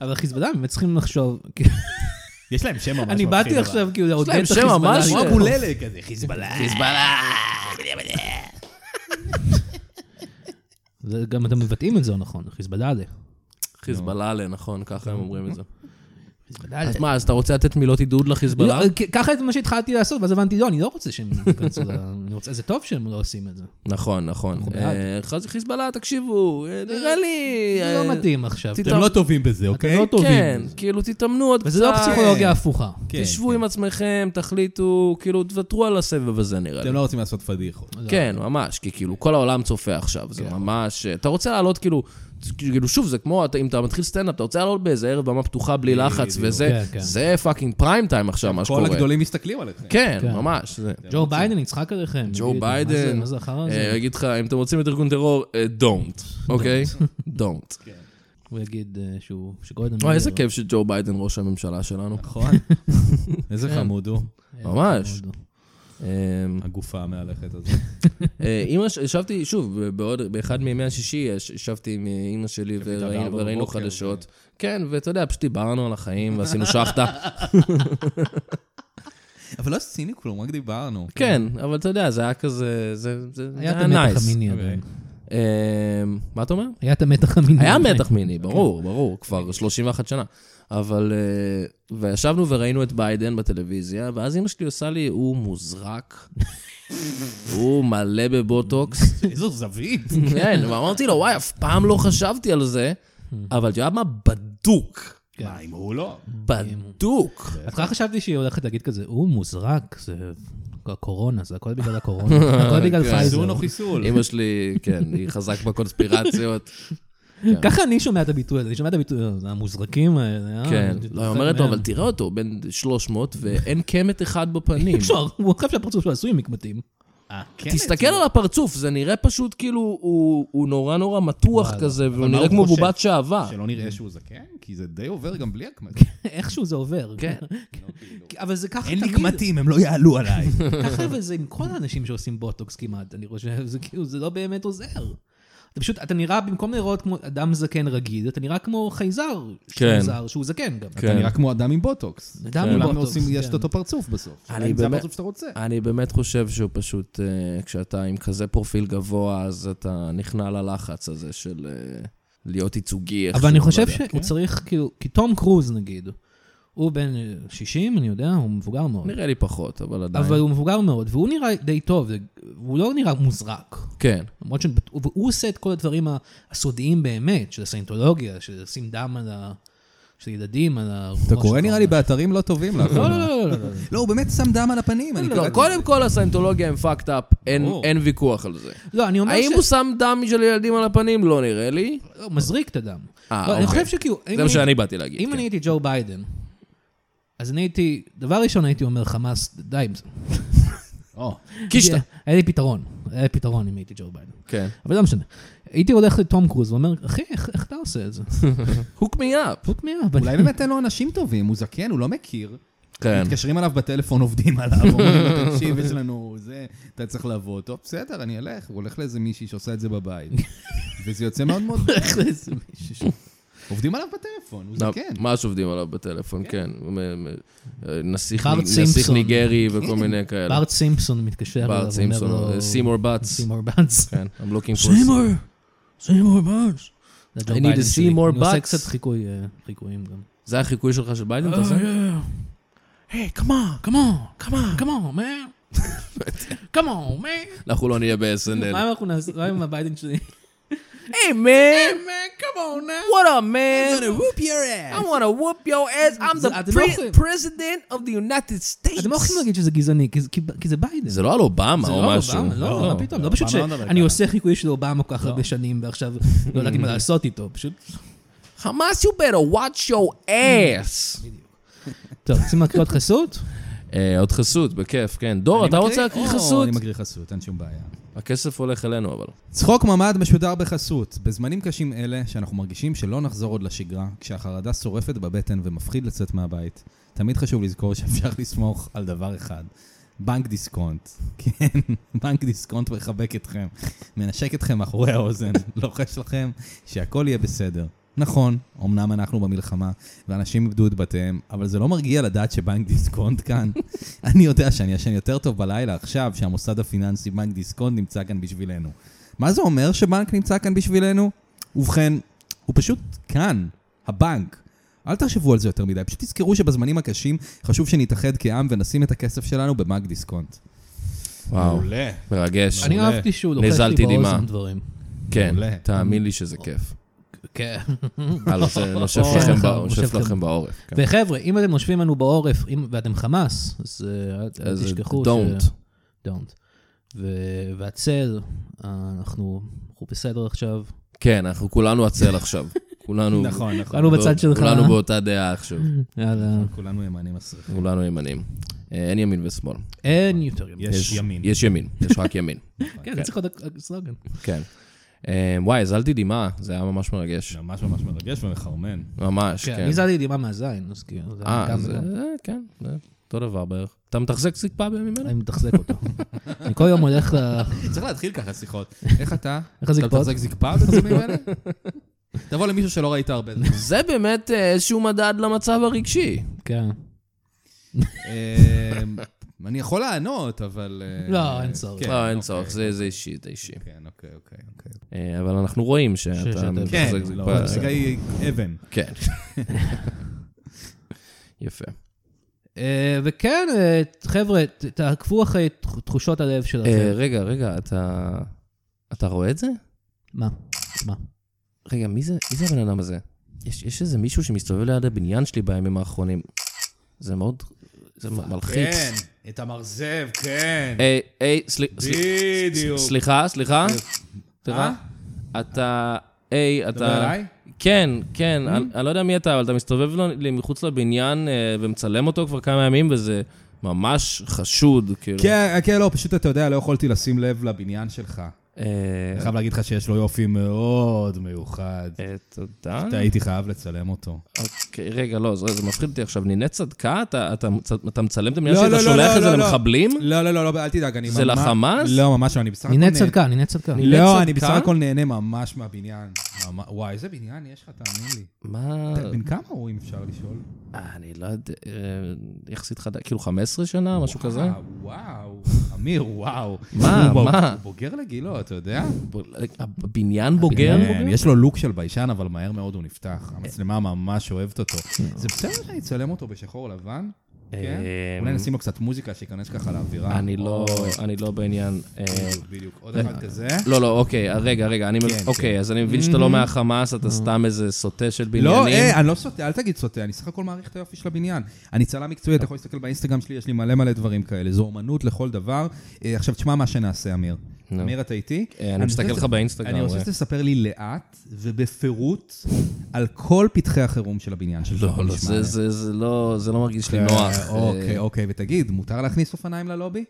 Speaker 2: אבל חיזבאללה, באמת צריכים לחשוב.
Speaker 3: יש להם שם ממש
Speaker 2: אני באתי עכשיו כאילו לעודד
Speaker 1: להם
Speaker 2: את
Speaker 1: שם
Speaker 2: החיזבאללה.
Speaker 1: ממש-
Speaker 3: כמו
Speaker 1: כן.
Speaker 3: אבוללה כזה, חיזבאללה.
Speaker 1: חיזבאללה.
Speaker 2: זה גם אתם מבטאים את זה, נכון? חיזבאללה.
Speaker 1: חיזבאללה, נכון, ככה הם אומרים את זה. אז מה, אז אתה רוצה לתת מילות עידוד לחיזבאללה?
Speaker 2: לא, כ- ככה זה מה שהתחלתי לעשות, ואז הבנתי, לא, אני לא רוצה שהם ייכנסו ל... [laughs] אני רוצה- זה טוב שהם לא עושים את זה.
Speaker 1: נכון, נכון.
Speaker 2: בעד.
Speaker 1: אה, חז- חיזבאללה, תקשיבו, אה, נראה לי...
Speaker 2: זה
Speaker 1: אה,
Speaker 2: לא מתאים עכשיו.
Speaker 1: תת-
Speaker 3: אתם לא טובים בזה, אוקיי?
Speaker 2: לא טובים.
Speaker 1: כן, כאילו, תתאמנו עוד קצת.
Speaker 2: וזה לא
Speaker 1: אה,
Speaker 2: פסיכולוגיה הפוכה.
Speaker 3: כן,
Speaker 1: תשבו
Speaker 3: כן.
Speaker 1: עם עצמכם, תחליטו, כאילו, תוותרו על הסבב הזה, נראה לי.
Speaker 3: אתם לא רוצים לעשות פדיחות.
Speaker 1: כן, ממש, כי כאילו, כל העולם צופה עכשיו,
Speaker 2: כן.
Speaker 1: זה ממש... אתה רוצה לעלות כאילו... כאילו, שוב, זה כמו, אתה- אם אתה מתחיל סטנדאפ, אתה רוצה לעלות באיזה ערב במה פתוחה בלי לחץ, וזה
Speaker 2: כן, כן.
Speaker 1: זה פאקינג פריים טיים עכשיו, מה
Speaker 3: כל
Speaker 1: שקורה.
Speaker 3: הגדולים מסתכלים עליכם.
Speaker 1: כן,
Speaker 2: כן.
Speaker 1: ממש. זה.
Speaker 2: ג'ו ביידן יצחק עליכם.
Speaker 1: ג'ו
Speaker 2: יגיד, מה זה-
Speaker 1: ביידן,
Speaker 2: מה לא, זה החרא
Speaker 1: אה,
Speaker 2: הזה?
Speaker 1: אגיד לך, אם אתם רוצים את ארגון טרור, אה,
Speaker 2: [laughs]
Speaker 1: don't, אוקיי? don't.
Speaker 2: הוא יגיד אה, שהוא... שגורדון
Speaker 1: וואי, איזה
Speaker 2: מיליארד.
Speaker 1: כיף שג'ו ביידן ראש הממשלה שלנו. [laughs]
Speaker 3: נכון.
Speaker 1: כן.
Speaker 3: איזה חמוד הוא,
Speaker 1: ממש. אמ,
Speaker 3: הגופה
Speaker 1: [laughs]
Speaker 3: המהלכת הזאת.
Speaker 1: אה, אימא, ש- ישבתי, שוב, בעוד, באחד מימי השישי, יש- ישבתי עם אה, אימא שלי וראינו-
Speaker 3: בארבע
Speaker 1: וראינו
Speaker 3: בבוקר,
Speaker 1: חדשות. כן, ואתה יודע, פשוט דיברנו על החיים ועשינו שחטה.
Speaker 3: אבל לא עשינו כלום, רק דיברנו.
Speaker 1: כן, אבל אתה יודע, זה היה כזה, זה זה- זה
Speaker 2: היה את
Speaker 1: היה
Speaker 2: המתח
Speaker 1: נייס.
Speaker 2: המיני
Speaker 3: אוקיי.
Speaker 2: עדיין.
Speaker 1: כן. אמ, מה אתה אומר?
Speaker 2: היה את המתח המיני.
Speaker 1: [laughs] היה
Speaker 2: עדיין.
Speaker 1: מתח מיני, ברור, ברור, כבר 31 שנה. אבל, אה, וישבנו וראינו את ביידן בטלוויזיה, ואז אמא שלי עושה לי, הוא מוזרק, הוא מלא בבוטוקס.
Speaker 3: [laughs] איזו זווית.
Speaker 1: כן, ואמרתי לו, וואי, אף פעם לא חשבתי על זה, אבל אתה יודע מה? בדוק.
Speaker 3: מה, אם הוא לא?
Speaker 1: כן. בדוק.
Speaker 2: בהתחלה חשבתי שהיא הולכת להגיד כזה, הוא מוזרק, זה הקורונה, זה הכל בגלל הקורונה,
Speaker 1: [laughs]
Speaker 2: הכל בגלל
Speaker 1: כן.
Speaker 2: פייזר.
Speaker 3: חיסון או חיסול.
Speaker 1: אמא שלי, כן, היא חזק בקונספירציות.
Speaker 2: ככה אני שומע את הביטוי הזה, אני שומע את הביטוי הזה, המוזרקים האלה. אה,
Speaker 1: כן.
Speaker 2: אני
Speaker 1: לא,
Speaker 2: זוכר
Speaker 1: היא אומרת לו,
Speaker 2: [laughs] מהם.
Speaker 1: אבל תראה אותו, בן 300, ואין קמת אחד בפנים.
Speaker 2: אפשר, הוא חושב שהפרצוף שלו עשוי מקמטים. [laughs]
Speaker 3: אה, כן,
Speaker 2: כן,
Speaker 1: תסתכל
Speaker 2: כאילו.
Speaker 1: על הפרצוף, זה נראה פשוט כאילו, הוא הוא נורא נורא מתוח
Speaker 2: וואלה.
Speaker 1: כזה,
Speaker 3: מה
Speaker 1: והוא נראה
Speaker 3: הוא
Speaker 1: כמו
Speaker 3: חושב?
Speaker 1: בובת שעווה.
Speaker 3: שלא נראה שהוא זקן, כי זה די עובר גם בלי הקמטים.
Speaker 2: איכשהו זה עובר.
Speaker 1: כן. [laughs]
Speaker 2: אבל זה ככה
Speaker 3: אין לי
Speaker 2: תמיד.
Speaker 3: קמטים, הם לא יעלו עליי.
Speaker 2: [laughs] ככה אבל זה עם כל האנשים שעושים בוטוקס כמעט, אני חושב, זה כאילו, זה לא באמת עוזר. אתה פשוט, אתה נראה, במקום לראות כמו אדם זקן רגיל, אתה נראה כמו חייזר. שהוא
Speaker 1: כן.
Speaker 2: זר, שהוא זקן גם.
Speaker 1: כן.
Speaker 3: אתה נראה כמו אדם עם בוטוקס.
Speaker 2: אדם עם
Speaker 3: כולם
Speaker 2: בוטוקס,
Speaker 3: עושים, יש
Speaker 2: כן.
Speaker 3: את אותו פרצוף בסוף.
Speaker 1: אני
Speaker 3: אני באמת... זה
Speaker 1: באמת-
Speaker 3: הפרצוף שאתה רוצה.
Speaker 1: אני באמת חושב שהוא פשוט, אה, כשאתה עם כזה פרופיל גבוה, אז אתה נכנע ללחץ הזה של אה, להיות ייצוגי.
Speaker 2: אבל אני
Speaker 1: איכשהו,
Speaker 2: חושב
Speaker 1: לא יודע.
Speaker 2: שהוא צריך, כאילו, כי תום קרוז נגיד, הוא בן 60, אני יודע, הוא מבוגר מאוד.
Speaker 1: נראה לי פחות, אבל עדיין.
Speaker 2: אבל הוא מבוגר מאוד, והוא נראה די טוב, זה- הוא לא נראה מוזרק.
Speaker 1: כן.
Speaker 2: למרות שהוא עושה את כל הדברים הסודיים באמת, של הסנטולוגיה, של לשים דם על ה... של ילדים, על הראש.
Speaker 3: אתה קורא נראה לי באתרים לא טובים לך.
Speaker 2: לא, לא, לא,
Speaker 1: [laughs]
Speaker 2: לא, לא.
Speaker 3: לא, הוא באמת שם דם על הפנים, אני
Speaker 1: לא,
Speaker 3: קראתי.
Speaker 1: קודם כל הסנטולוגיה הם fucked up, אין-
Speaker 3: ברור.
Speaker 1: אין ויכוח על זה.
Speaker 2: לא, אני אומר
Speaker 1: האם הוא שם דם של ילדים על הפנים? לא נראה לי.
Speaker 2: לא, מזריק את הדם.
Speaker 1: אה,
Speaker 2: לא, אני
Speaker 1: אוקיי.
Speaker 2: חושב שכאילו... אם
Speaker 1: זה מה
Speaker 2: אני-
Speaker 1: שאני באתי להגיד.
Speaker 2: אם
Speaker 1: כן.
Speaker 2: אני הייתי ג'ו ביידן, אז אני הייתי, דבר ראשון הייתי אומר חמאס, די עם זה.
Speaker 1: קישטה.
Speaker 2: היה לי פתרון, היה לי פתרון אם הייתי ג'ו ביידן.
Speaker 1: כן.
Speaker 2: אבל לא משנה. הייתי הולך לתום קרוז ואומר, אחי, איך איך אתה עושה את זה?
Speaker 1: הוק מי אפ.
Speaker 2: פוק מיה.
Speaker 3: אולי באמת אין לו אנשים טובים, הוא זקן, הוא לא מכיר.
Speaker 1: כן.
Speaker 3: מתקשרים אליו בטלפון, עובדים עליו, [laughs] אומרים לו, תקשיב, יש לנו זה, אתה צריך לבוא. טוב, בסדר, אני אלך. הוא הולך לאיזה מישהי שעושה את זה בבית. וזה יוצא מאוד מאוד... הולך לאיזה מישהי ש... עובדים עליו בטלפון, הוא
Speaker 2: כן.
Speaker 3: זקן.
Speaker 1: לא, ממש עובדים עליו בטלפון, כן. מ- מ- נסיך
Speaker 2: בארט
Speaker 1: נ- נסיך
Speaker 2: סימפסון.
Speaker 1: ניגרי וכל מיני כאלה.
Speaker 2: בארט סימפסון מתקשר אליו,
Speaker 1: בארט
Speaker 2: אומר
Speaker 1: סימפסון. אה,
Speaker 2: לו...
Speaker 1: סימור באטס.
Speaker 2: סימור בארץ.
Speaker 1: כן, I'm looking for...
Speaker 2: סימור! סימור בארץ. זה ג'ו
Speaker 1: I need
Speaker 2: ביידן
Speaker 1: to see
Speaker 2: שלי.
Speaker 1: more
Speaker 2: אני עושה
Speaker 1: butts.
Speaker 2: קצת חיקוי, אה, חיקויים גם.
Speaker 1: זה החיקוי שלך של ביידן? אתה עושה?
Speaker 2: [laughs] היי, קמה, קמה, קמה, קמה, מה?
Speaker 1: [laughs]
Speaker 2: קמה, מה?
Speaker 1: אנחנו לא נהיה ב-SNL.
Speaker 2: מה אם אנחנו נעשה, מה אם הביידן
Speaker 1: [laughs]
Speaker 2: שלי?
Speaker 1: היי, מן!
Speaker 2: Man, come on now.
Speaker 1: What up, man?
Speaker 3: whoop your
Speaker 1: I wanna whoop your ass, I'm
Speaker 2: זה-
Speaker 1: the
Speaker 2: אתם לא
Speaker 1: pre-
Speaker 2: יכולים.
Speaker 1: president of the United States.
Speaker 2: אתם לא יכולים להגיד שזה גזעני, כי זה- כי ב- כי זה ביידן.
Speaker 1: זה לא על אובמה
Speaker 2: זה
Speaker 1: או
Speaker 2: לא
Speaker 1: משהו.
Speaker 2: אובמה, לא, מה פתאום, לא פשוט
Speaker 3: אובמה לא מדבר
Speaker 2: שאני
Speaker 3: ככה.
Speaker 2: עושה חיקוי של אובמה כל כך הרבה שנים, ועכשיו לא ידעתי מה לעשות איתו, פשוט...
Speaker 1: חמאס, you better watch your ass.
Speaker 2: Mm. טוב, רוצים להקריא חסות?
Speaker 1: אה, עוד חסות, בכיף, כן. דור, אתה רוצה להקריא חסות?
Speaker 3: אני מקריא חסות, אין שום בעיה.
Speaker 1: הכסף הולך אלינו, אבל.
Speaker 3: צחוק ממ"ד משודר בחסות. בזמנים קשים אלה, שאנחנו מרגישים שלא נחזור עוד לשגרה, כשהחרדה שורפת בבטן ומפחיד לצאת מהבית, תמיד חשוב לזכור שאפשר [laughs] לסמוך על דבר אחד, בנק דיסקונט. [laughs] כן, בנק דיסקונט מחבק אתכם, מנשק אתכם מאחורי האוזן, [laughs] לוחש לכם שהכל יהיה בסדר. נכון, אמנם אנחנו במלחמה, ואנשים איבדו את בתיהם, אבל זה לא מרגיע לדעת שבנק דיסקונט כאן. [laughs] אני יודע שאני ישן יותר טוב בלילה עכשיו, שהמוסד הפיננסי בנק דיסקונט נמצא כאן בשבילנו. מה זה אומר שבנק נמצא כאן בשבילנו? ובכן, הוא פשוט כאן, הבנק. אל תחשבו על זה יותר מדי, פשוט תזכרו שבזמנים הקשים חשוב שנתאחד כעם ונשים את הכסף שלנו בבנק דיסקונט.
Speaker 1: וואו,
Speaker 3: מעולה.
Speaker 1: מרגש.
Speaker 2: אני אהבתי שהוא לוחש
Speaker 1: נזלתי
Speaker 2: לי
Speaker 1: דמעה.
Speaker 2: באוזן דברים.
Speaker 1: כן,
Speaker 3: מעולה.
Speaker 1: תאמין לי שזה
Speaker 2: [laughs]
Speaker 1: כיף.
Speaker 2: כן.
Speaker 1: הלו, זה נושף
Speaker 2: אוי,
Speaker 1: לכם
Speaker 2: נכון,
Speaker 1: בא- נושף
Speaker 2: נושף
Speaker 1: לכם
Speaker 2: לכם.
Speaker 1: בעורף. כן.
Speaker 2: וחבר'ה, אם אתם נושבים לנו בעורף אם- ואתם חמאס, אז אה, אל- אל
Speaker 1: אז
Speaker 2: תשכחו ש...
Speaker 1: don't.
Speaker 2: don't. ו- והצל, אה, אנחנו אנחנו בסדר עכשיו.
Speaker 1: כן, אנחנו כולנו עצל עכשיו. כולנו...
Speaker 3: נכון, נכון.
Speaker 2: כולנו בצד שלך.
Speaker 1: כולנו באותה דעה עכשיו.
Speaker 2: יאללה.
Speaker 3: כולנו ימנים מסריחים.
Speaker 1: כולנו ימנים. אה, אין ימין ושמאל.
Speaker 2: אין יותר ימים.
Speaker 3: יש ימין.
Speaker 1: יש
Speaker 2: [laughs]
Speaker 1: ימין, יש רק ימין.
Speaker 2: כן, זה צריך עוד סלוגן.
Speaker 1: כן. אה, וואי, הזלתי דמעה, זה היה ממש מרגש.
Speaker 3: ממש ממש מרגש ומחרמן.
Speaker 1: ממש,
Speaker 2: כן,
Speaker 1: כן.
Speaker 2: אני זלתי דמעה מהזין, אז כאילו... זה
Speaker 1: אה,
Speaker 2: גם
Speaker 1: זה...
Speaker 2: וגם.
Speaker 1: אה, כן, זה אותו דבר בערך. אתה מתחזק סיפה בימים אלה?
Speaker 2: אני מתחזק אותו. [laughs] אני כל יום הולך ל...
Speaker 3: צריך להתחיל ככה שיחות. [laughs] איך אתה?
Speaker 2: איך הזקפות?
Speaker 3: אתה מתחזק זקפה בזמנים האלה? [laughs] תבוא למישהו שלא
Speaker 1: [laughs]
Speaker 3: ראית הרבה זמן.
Speaker 1: זה באמת אה, איזשהו מדד למצב הרגשי.
Speaker 2: כן.
Speaker 3: אמ, אני יכול לענות, אבל... אה,
Speaker 2: לא, אין צורך.
Speaker 3: כן,
Speaker 1: לא, אין
Speaker 3: אוקיי.
Speaker 1: צורך, זה זה אישי, זה אישי.
Speaker 3: כן, אוקיי, אוקיי, אוקיי.
Speaker 1: אה, אבל אנחנו רואים שאתה
Speaker 2: שאתה-
Speaker 3: כן,
Speaker 1: מתחזק
Speaker 3: לא,
Speaker 1: סיפה.
Speaker 3: רגע היא אבן.
Speaker 1: כן. [laughs] יפה.
Speaker 2: אה, וכן, אה, חבר'ה, ת- תעקבו אחרי תח- תחושות הלב
Speaker 3: אוקיי.
Speaker 1: אה,
Speaker 2: שלכם.
Speaker 1: רגע, רגע, אתה... אתה רואה את זה?
Speaker 2: מה? מה?
Speaker 1: רגע, מי זה, מי זה הבן אדם הזה? יש, יש איזה מישהו שמסתובב ליד הבניין שלי בימים האחרונים. זה מאוד... זה מ- מלחיץ.
Speaker 3: כן, את המרזב, כן.
Speaker 1: היי, היי, סליחה, אה,
Speaker 3: בדיוק.
Speaker 1: סליחה, סליחה.
Speaker 3: אה?
Speaker 1: סליחה. אתה... היי, אתה...
Speaker 3: מדבר אליי?
Speaker 1: כן, כן,
Speaker 3: Mm-hmm.
Speaker 1: אני אני לא יודע מי אתה, אבל אתה מסתובב לו- לי מחוץ לבניין אה, ומצלם אותו כבר כמה ימים, וזה ממש חשוד, כאילו.
Speaker 3: כן, כן, לא, פשוט אתה יודע, לא יכולתי לשים לב לבניין שלך.
Speaker 1: אה,
Speaker 3: אני חייב להגיד לך שיש לו יופי מאוד מיוחד.
Speaker 1: אה, תודה.
Speaker 3: אתה הייתי חייב לצלם אותו.
Speaker 1: אוקיי, רגע, לא, זה זה מפחיד אותי עכשיו. נינת צדקה? אתה- אתה מצ- אתה מצלם את הבניין
Speaker 3: לא,
Speaker 1: שלי? אתה
Speaker 3: לא, לא,
Speaker 1: שולח
Speaker 3: לא,
Speaker 1: את זה
Speaker 3: לא, לא.
Speaker 1: למחבלים?
Speaker 3: לא, לא, לא, לא, אל תדאג, אני ממש...
Speaker 1: זה לחמאס?
Speaker 3: לא, ממש לא, אני בסך הכל...
Speaker 2: נינת
Speaker 3: נהנה-
Speaker 2: צדקה, נינת צדקה.
Speaker 3: לא,
Speaker 1: נינת
Speaker 3: אני
Speaker 1: צדקה?
Speaker 3: בסך הכל נהנה ממש מהבניין. ממש- וואי, איזה בניין יש לך, תאמין לי.
Speaker 1: מה...
Speaker 3: בן כמה הוא, אם אפשר לשאול?
Speaker 1: אה, אני לא יודע, אה, יחסית חדש, כאילו 15 שנה, משהו כזה?
Speaker 3: אה, וואו, אמיר, וואו.
Speaker 1: מה,
Speaker 3: הוא ב-
Speaker 1: מה?
Speaker 3: הוא בוגר לגילו, אתה יודע?
Speaker 1: ב- הבניין בוגר?
Speaker 3: כן, יש לו לוק של ביישן, אבל מהר מאוד הוא נפתח. המצלמה ממש אוהבת אותו. זה בסדר שאני אצלם אותו בשחור לבן? כן?
Speaker 1: אה,
Speaker 3: אולי נשים לו קצת מוזיקה, שייכנס ככה לאווירה.
Speaker 1: אני לא, אני לא בעניין. אה,
Speaker 3: בדיוק. עוד אחד כזה.
Speaker 1: לא, לא, אוקיי, אז רגע, רגע, אני... מל-
Speaker 3: כן,
Speaker 1: אוקיי, אז אני מבין שאתה לא מהחמאס, אתה סתם איזה סוטה של בניינים.
Speaker 3: לא, אה, אני לא סוטה, אל תגיד סוטה, אני סך הכל מעריך את היופי של הבניין. אני צלם מקצועי, אתה יכול להסתכל באינסטגרם שלי, יש לי מלא מלא דברים כאלה. זו אומנות לכל דבר. אה, עכשיו, תשמע מה שנעשה, אמיר.
Speaker 1: נו.
Speaker 3: אמיר, אתה איתי?
Speaker 1: אה, אני
Speaker 3: רוצה
Speaker 1: מסתכל
Speaker 3: שת-
Speaker 1: לך באינסטגרם,
Speaker 3: אני רוצה
Speaker 1: אה.
Speaker 3: שתספר לי לאט ובפירוט על כל פתחי החירום של הבניין שלך.
Speaker 1: לא, לא,
Speaker 3: נשמע
Speaker 1: זה-
Speaker 3: עליהם.
Speaker 1: זה- זה לא, זה לא מרגיש לי
Speaker 3: אה,
Speaker 1: נוח.
Speaker 3: אוקיי, אוקיי, ותגיד, מותר להכניס אופניים ללובי?